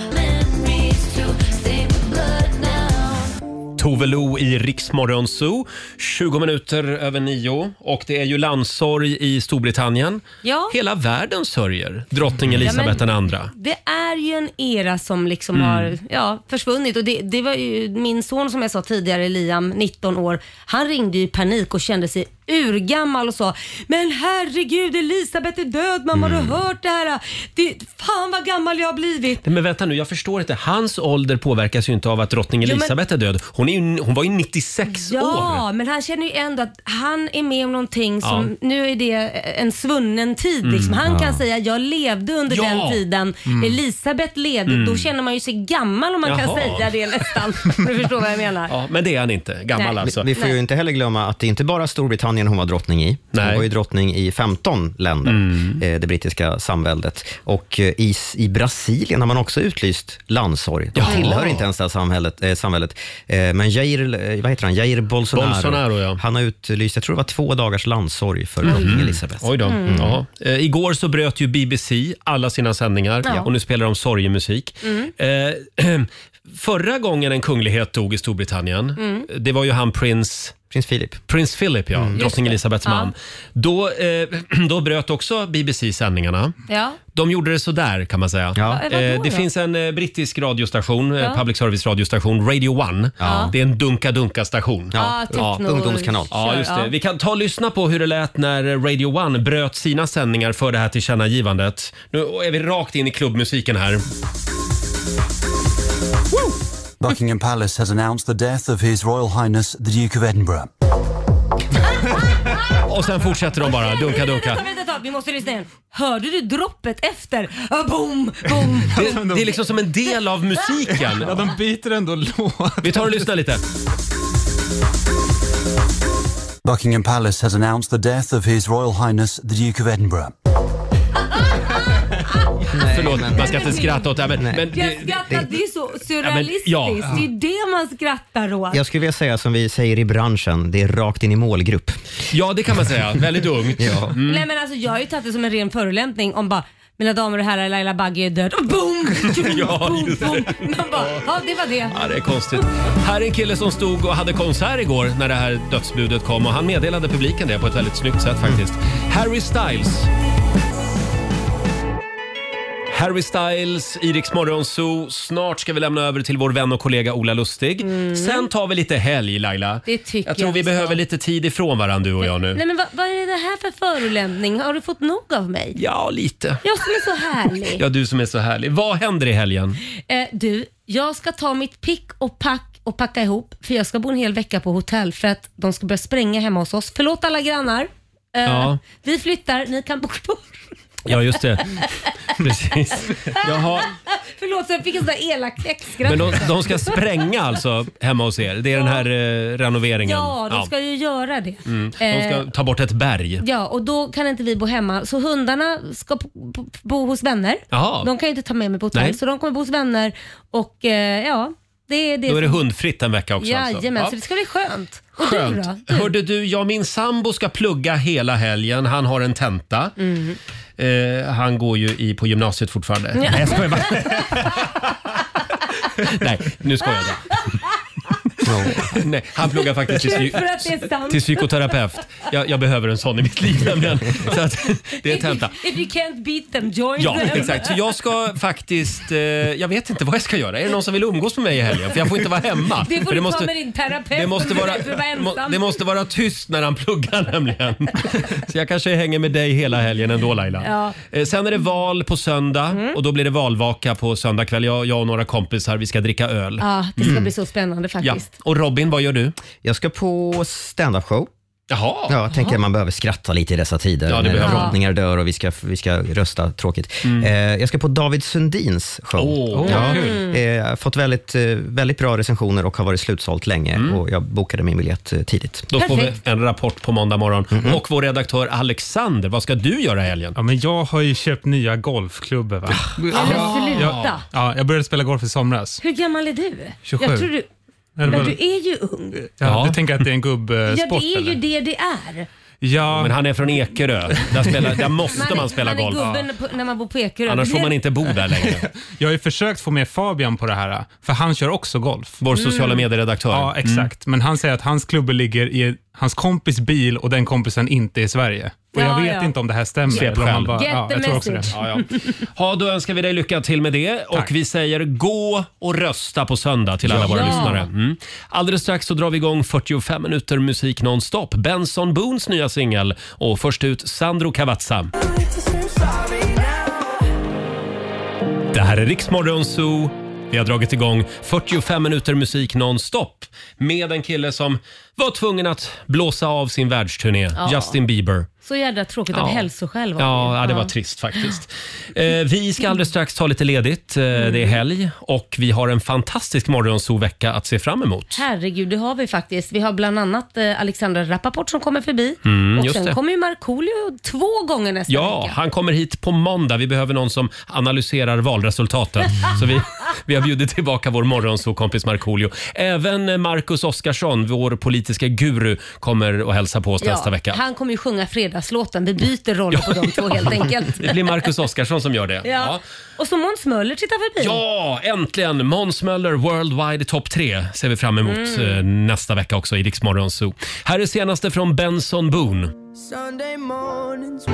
S1: Tove Lo i Riksmorgon Zoo. 20 minuter över nio och det är ju landssorg i Storbritannien.
S2: Ja.
S1: Hela världen sörjer drottning
S2: Ja, men-
S1: Elizabeth II.
S2: Det är ju en era som liksom
S1: Mm.
S2: har ja, försvunnit. Och det, det var ju min son som jag sa tidigare, Liam, 19 år. Han ringde ju i panik och kände sig urgammal och sa “Men herregud, Elisabeth är död, mamma
S1: Mm.
S2: har du hört det här? Det, fan vad gammal jag har blivit!”
S1: Men vänta nu, jag förstår inte. Hans ålder påverkas ju inte av att drottning
S2: Jo, men-
S1: Elizabeth är död. Hon, är ju, hon var ju 96 år.
S2: Ja, men han känner ju ändå att han är med om någonting som, nu är det en svunnen tid.
S1: Mm,
S2: Liksom. Han
S1: ja.
S2: kan säga, jag levde under
S1: Ja.
S2: den tiden.
S1: Mm.
S2: Elisabeth levde.
S1: Mm.
S2: Då känner man ju sig gammal om man kan
S1: Jaha.
S2: säga det nästan. Om du förstår vad jag menar.
S1: Ja, men det är han inte. Gammal
S2: Nej.
S1: alltså.
S5: Vi, vi får ju inte heller glömma att det är inte bara Storbritannien hon var drottning i. Hon var ju drottning i 15 länder,
S1: Mm.
S5: eh, det brittiska samväldet. Och eh, i, s- i Brasilien har man också utlyst landssorg. De
S1: Jaha.
S5: tillhör inte ens det här samhället. Eh, samhället. Eh, men Jair, eh, vad heter han? Jair Bolsonaro,
S1: Bolsonaro,
S5: han har utlyst, jag tror det var två dagars landssorg för
S1: Mm.
S5: drottning Elizabeth.
S1: Oj då.
S5: Mm.
S1: Ja. Eh, igår så bröt ju BBC alla sina sändningar
S5: Ja.
S1: och nu spelar de sorgemusik.
S7: Mm.
S1: Eh, *clears throat* förra gången en kunglighet dog i Storbritannien,
S7: Mm.
S1: det var ju han prins
S5: Prins Philip.
S1: Prins Philip, ja. Drottning Elisabeths
S2: Ja.
S1: man. Då, eh, *clears throat* då bröt också BBC sändningarna.
S2: Ja.
S1: De gjorde det sådär kan man säga.
S2: Ja, vadå
S1: Eh, det
S2: då?
S1: finns en eh, brittisk radiostation, eh,
S2: Ja.
S1: public service radiostation, Radio One.
S2: Ja.
S1: Det är en dunka-dunka-station.
S2: Ja, techno- Ungdomskanal.
S1: Ja, just det.
S2: Ah, Ja.
S1: Vi kan ta och lyssna på hur det lät när Radio One bröt sina sändningar för det här tillkännagivandet. Nu är vi rakt in i klubbmusiken här.
S3: Buckingham Palace has announced the death of His Royal Highness the Duke of Edinburgh.
S1: *laughs* Och sen fortsätter de bara, dunka, dunka.
S2: Vänta, vänta, vänta, vi måste lyssna igen. Hörde du droppet efter? Ah, boom, boom.
S1: Det, det är liksom som en del av musiken. Ja, de byter ändå låt. Vi tar och lyssnar lite.
S3: Buckingham Palace has announced the death of His Royal Highness the Duke of Edinburgh.
S1: *laughs* Förlåt, man ska inte skratta åt det här. Men, men
S2: Jag
S1: det,
S2: skrattar, det, är så
S1: men-
S2: surrealistiskt.
S5: ja.
S2: Det är ju det man skrattar åt.
S5: Jag skulle vilja säga som vi säger i branschen, det är rakt in i målgrupp.
S1: Ja, det kan man säga. Väldigt
S5: *laughs*
S1: ungt.
S5: ja.
S2: Nej, men alltså, jag har ju tagit det som en ren förolämpning om bara mina damer och herrar, Laila Bagge är död. Och boom!
S1: *laughs* ja, just det.
S2: Man bara, ja det var det.
S1: Ja, det är konstigt. Här är en kille som stod och hade konsert igår när det här dödsbudet kom och han meddelade publiken det på ett väldigt snyggt sätt faktiskt. Harry Styles. Harry Styles, Iriks morgonzoo. Snart ska vi lämna över till vår vän och kollega Ola Lustig. Sen tar vi lite helg Laila.
S2: Mm. Det tycker
S1: Jag tror vi
S2: ska.
S1: behöver lite tid ifrån varandra du och jag
S2: Nej
S1: nu.
S2: men vad, vad är det här för förolämpning? Har du fått nog av mig?
S1: Ja, lite.
S2: Jag som är så härlig.
S1: Ja, du som är så härlig. Vad händer i helgen?
S2: Eh, du, jag ska ta mitt pick och pack och packa ihop för jag ska bo en hel vecka på hotell för att de ska börja spränga hemma hos oss. Förlåt alla grannar. Eh,
S1: Ja.
S2: Vi flyttar, ni kan bo kvar.
S1: Ja, just
S2: *laughs*
S1: det. Precis. Jaha,
S2: Förlåt, så jag fick en sån där elak skratt.
S1: men de, de ska spränga alltså hemma hos er? Det är den här eh, renoveringen?
S2: Ja, de ska ju göra det.
S1: Mm. De
S2: Eh,
S1: ska ta bort ett berg.
S2: Ja, och då kan inte vi bo hemma. Så hundarna ska p- p- bo hos vänner.
S1: Jaha.
S2: De kan ju inte ta med mig på hotell,
S1: Nej.
S2: så de kommer bo hos vänner. Och eh, ja, det är det.
S1: Då är det
S2: som-
S1: hundfritt en vecka också alltså?
S2: Jajamän,
S1: Ja.
S2: så det ska Mm. bli skönt. Och du
S1: Skönt.
S2: då?
S1: Hörde du, jag min sambo ska plugga hela helgen. Han har en tenta.
S2: Mm.
S1: Eh, han går ju i, på gymnasiet fortfarande.
S7: Ja.
S1: Nej, jag skojar bara. Nej, nu skojar
S2: *laughs*
S1: jag. Nej, han pluggar faktiskt till, psy-
S2: För att det är sant.
S1: till psykoterapeut. Jag, jag behöver en sån i mitt liv nämligen. Så att, *laughs* det är tenta.
S2: If you can't beat them, join
S1: Ja,
S2: them.
S1: exakt. Så jag ska faktiskt... Eh, jag vet inte vad jag ska göra. Är det någon som vill umgås med mig i helgen? För jag får inte vara hemma.
S2: Det får
S1: För
S2: du ta med din terapeut
S1: det måste,
S2: om du
S1: vara,
S2: vill vara
S1: må,
S2: ensam.
S1: det måste vara tyst när han pluggar nämligen. Så jag kanske hänger med dig hela helgen ändå Laila.
S2: Ja. Mm.
S1: Eh, Sen är det val på söndag och då blir det valvaka på söndag kväll. Jag, jag och några kompisar, vi ska dricka öl.
S2: *laughs* Ja, det ska
S1: Mm.
S2: bli så spännande
S1: Ja.
S2: faktiskt.
S1: Och Robin, vad gör du?
S5: Jag ska på stand-up show.
S1: Jaha.
S5: Ja, jag tänker att man behöver skratta lite i dessa tider.
S1: Ja, det
S5: när
S1: behöver man. Mm.
S5: drottningar dör och vi ska, vi ska rösta tråkigt. Eh, jag ska på David Sundins show.
S1: Åh,
S5: ja.
S1: kul.
S5: Eh, jag har fått väldigt, eh, väldigt bra recensioner och har varit slutsålt länge. Och jag bokade min biljett eh, tidigt.
S1: Mm. Då får vi en rapport på måndag morgon. Och vår redaktör Alexander, vad ska du göra i helgen?
S4: Ja, men jag har ju köpt nya golfklubbor. Va?
S2: men Ah. sluta.
S4: Ja, ja, jag började spela golf i somras.
S2: Hur gammal är du?
S4: 27.
S2: Jag tror du... Men
S4: Eller vad-
S2: du är ju ung.
S1: Eh,
S4: Ja, Du tänker att det är en gubbsport?
S2: Ja, det är
S4: eller?
S2: ju det det är.
S4: Ja.
S1: Men han är från Ekerö. Där, spelar,
S2: *laughs*
S1: där måste
S2: är-
S1: man spela
S2: man
S4: golf.
S2: är gubben på, när man bor på Ekerö.
S4: Annars
S2: Det
S4: får
S2: blir-
S4: man
S1: inte bo där längre.
S4: *laughs* Jag har ju försökt få med Fabian på det här, för han kör också golf.
S1: Vår sociala medieredaktör. Mm.
S4: Ja, exakt. Men han säger att hans klubbor ligger i hans kompis bil och den kompisen inte är i Sverige. Och jag
S1: Ja,
S4: vet
S1: ja.
S4: inte om det här stämmer.
S1: Svep
S4: eller om han
S1: själv.
S4: bara-
S1: Get
S4: ja,
S1: the
S4: jag tror också det.
S1: message. Ja, ja. Ha, då önskar vi dig lycka till med det och vi säger gå och rösta på söndag till alla
S4: Ja.
S1: våra
S4: Ja.
S1: lyssnare. Mm. Alldeles strax så drar vi igång 45 minuter musik nonstop. Benson Boons nya singel och först ut Sandro Cavazza. Det här är Riksmorgon Zoo. Vi har dragit igång 45 minuter musik nonstop med en kille som var tvungen att blåsa av sin världsturné,
S2: Ja.
S1: Justin Bieber.
S2: Så jädra tråkigt
S1: Ja.
S2: av hälsoskäl. var
S1: Ja, ja, det var trist faktiskt. Eh, vi ska alldeles strax ta lite ledigt. Eh, Det är helg och vi har en fantastisk morgonsovecka att se fram emot.
S2: Herregud, det har vi faktiskt. Vi har bland annat eh, Alexandra Rappaport som kommer förbi.
S1: Mm,
S2: och
S1: just
S2: sen
S1: det.
S2: kommer ju Markoolio två gånger nästa
S1: Ja,
S2: vecka.
S1: han kommer hit på måndag. Vi behöver någon som analyserar
S2: *laughs*
S1: valresultaten. Så vi, vi har bjudit tillbaka vår morgonsovkompis Markoolio. Även eh, Marcus Oskarsson, vår politiska guru, kommer och hälsa på oss nästa vecka.
S2: Han kommer ju sjunga fredagslåten. Vi byter roll på de två
S1: *laughs*
S2: helt enkelt.
S1: Det blir Marcus Oskarsson som gör det.
S2: *laughs* Ja. Och så Måns Möller tittar förbi.
S1: Ja, äntligen! Måns Möller Worldwide Top 3 ser vi fram emot
S2: Mm.
S1: eh, nästa vecka också i Rix Morgon Zoo. Här är senaste från Benson Boone.
S7: Sunday mornings.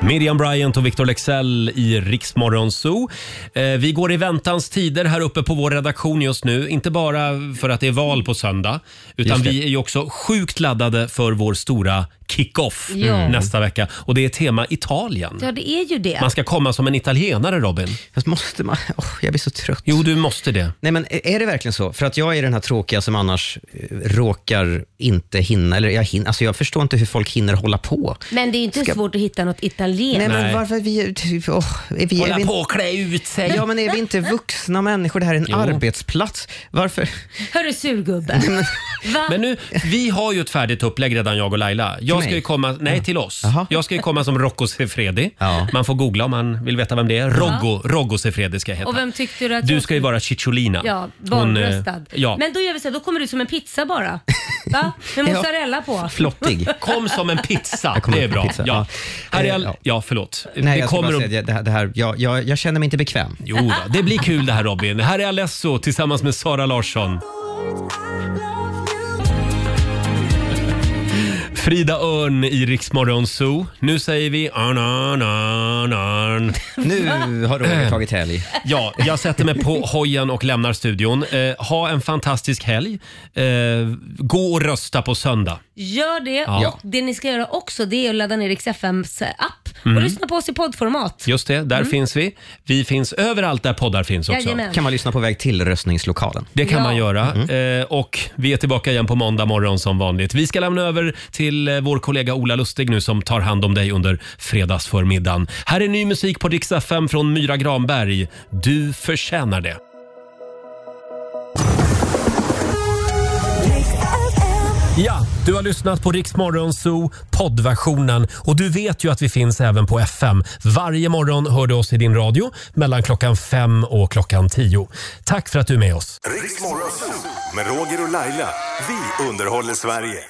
S1: Miriam Bryant och Victor Lexell i Rix Morgon Zoo. Eh, vi går i väntans tider här uppe på vår redaktion just nu. Inte bara för att det är val på söndag, utan
S4: Just det.
S1: vi är ju också sjukt laddade för vår stora kick-off
S5: Mm.
S2: Ja.
S1: nästa vecka. Och det är tema Italien.
S2: Ja, det är ju det.
S1: Man ska komma som en italienare, Robin.
S5: Fast måste man? *laughs* Åh, jag blir så trött.
S1: Jo, du måste det.
S5: Nej, men är är det verkligen så? För att jag är den här tråkiga som annars eh, råkar inte hinna. Eller jag, hinner, alltså jag förstår inte hur folk hinner hålla på.
S2: Men det är ju inte svårt att hitta något
S5: Nej,
S2: italienskt.
S5: men varför vi... typ, åh, är vi, är vi,
S1: ut
S5: Ja, men är vi inte vuxna människor? Det här är en arbetsplats. Varför?
S2: Hörru surgubbe.
S5: *laughs*
S2: Va?
S1: Men nu, vi har ju ett färdigt upplägg redan jag och Laila. Jag ska
S5: mig?
S1: ju komma, nej till oss. Jag ska ju komma som Rocco Sefredi. Man får googla om man vill veta vem det är. Roggo, Roggo Sefredi ska jag heta.
S2: Och vem tyckte du att
S1: Du
S2: jag
S1: ska ju vara Cicciolina.
S2: Ja,
S1: Hon, eh,
S2: barnröstad.
S1: Ja.
S2: Men då gör vi så här, då kommer du som en pizza bara.
S1: *laughs*
S2: Va? Med mozzarella på. *laughs*
S5: Flottig.
S1: Kom som en pizza.
S5: Jag kommer
S1: Det är
S5: ihåg
S1: bra.
S5: pizza.
S1: Ja. Här är
S5: Eh,
S1: all...
S5: ja.
S1: ja, förlåt.
S5: Nej,
S1: det
S5: jag, kommer
S1: kommer
S5: säga, det- det här, det här, jag, jag, jag känner mig inte bekväm.
S1: Jo, då, det blir kul det här Robin. Här är Alesso tillsammans med Sara Larsson. Frida Örn i Rix Morgon Zoo. Nu säger vi örn, örn, örn, örn.
S5: Nu har Roger tagit helg.
S1: Eh. Ja, jag sätter mig på hojen och lämnar studion. Eh, ha en fantastisk helg. Eh, gå och rösta på söndag.
S2: Gör det.
S1: Ja.
S2: Och det ni ska göra också det är att ladda ner Rix FMs app.
S1: Mm.
S2: Och lyssna på oss i poddformat.
S1: Just det, där
S2: Mm.
S1: finns vi. Vi finns överallt där poddar finns också.
S2: Jajamän. Kan man
S1: lyssna på väg till röstningslokalen. Det kan
S2: Ja.
S1: man göra. Eh, och vi är tillbaka igen på måndag morgon som vanligt. Vi ska lämna över till eh, vår kollega Ola Lustig nu som tar hand om dig under fredagsförmiddagen. Här är ny musik på Dix FM från Myra Granberg. Du förtjänar det. Ja, du har lyssnat på Riksmorgon Zoo poddversionen och du vet ju att vi finns även på FM. Varje morgon hör du oss i din radio mellan klockan fem och klockan tio. Tack för att du är med oss.
S6: Riksmorgon Zoo med Roger och Laila. Vi underhåller Sverige.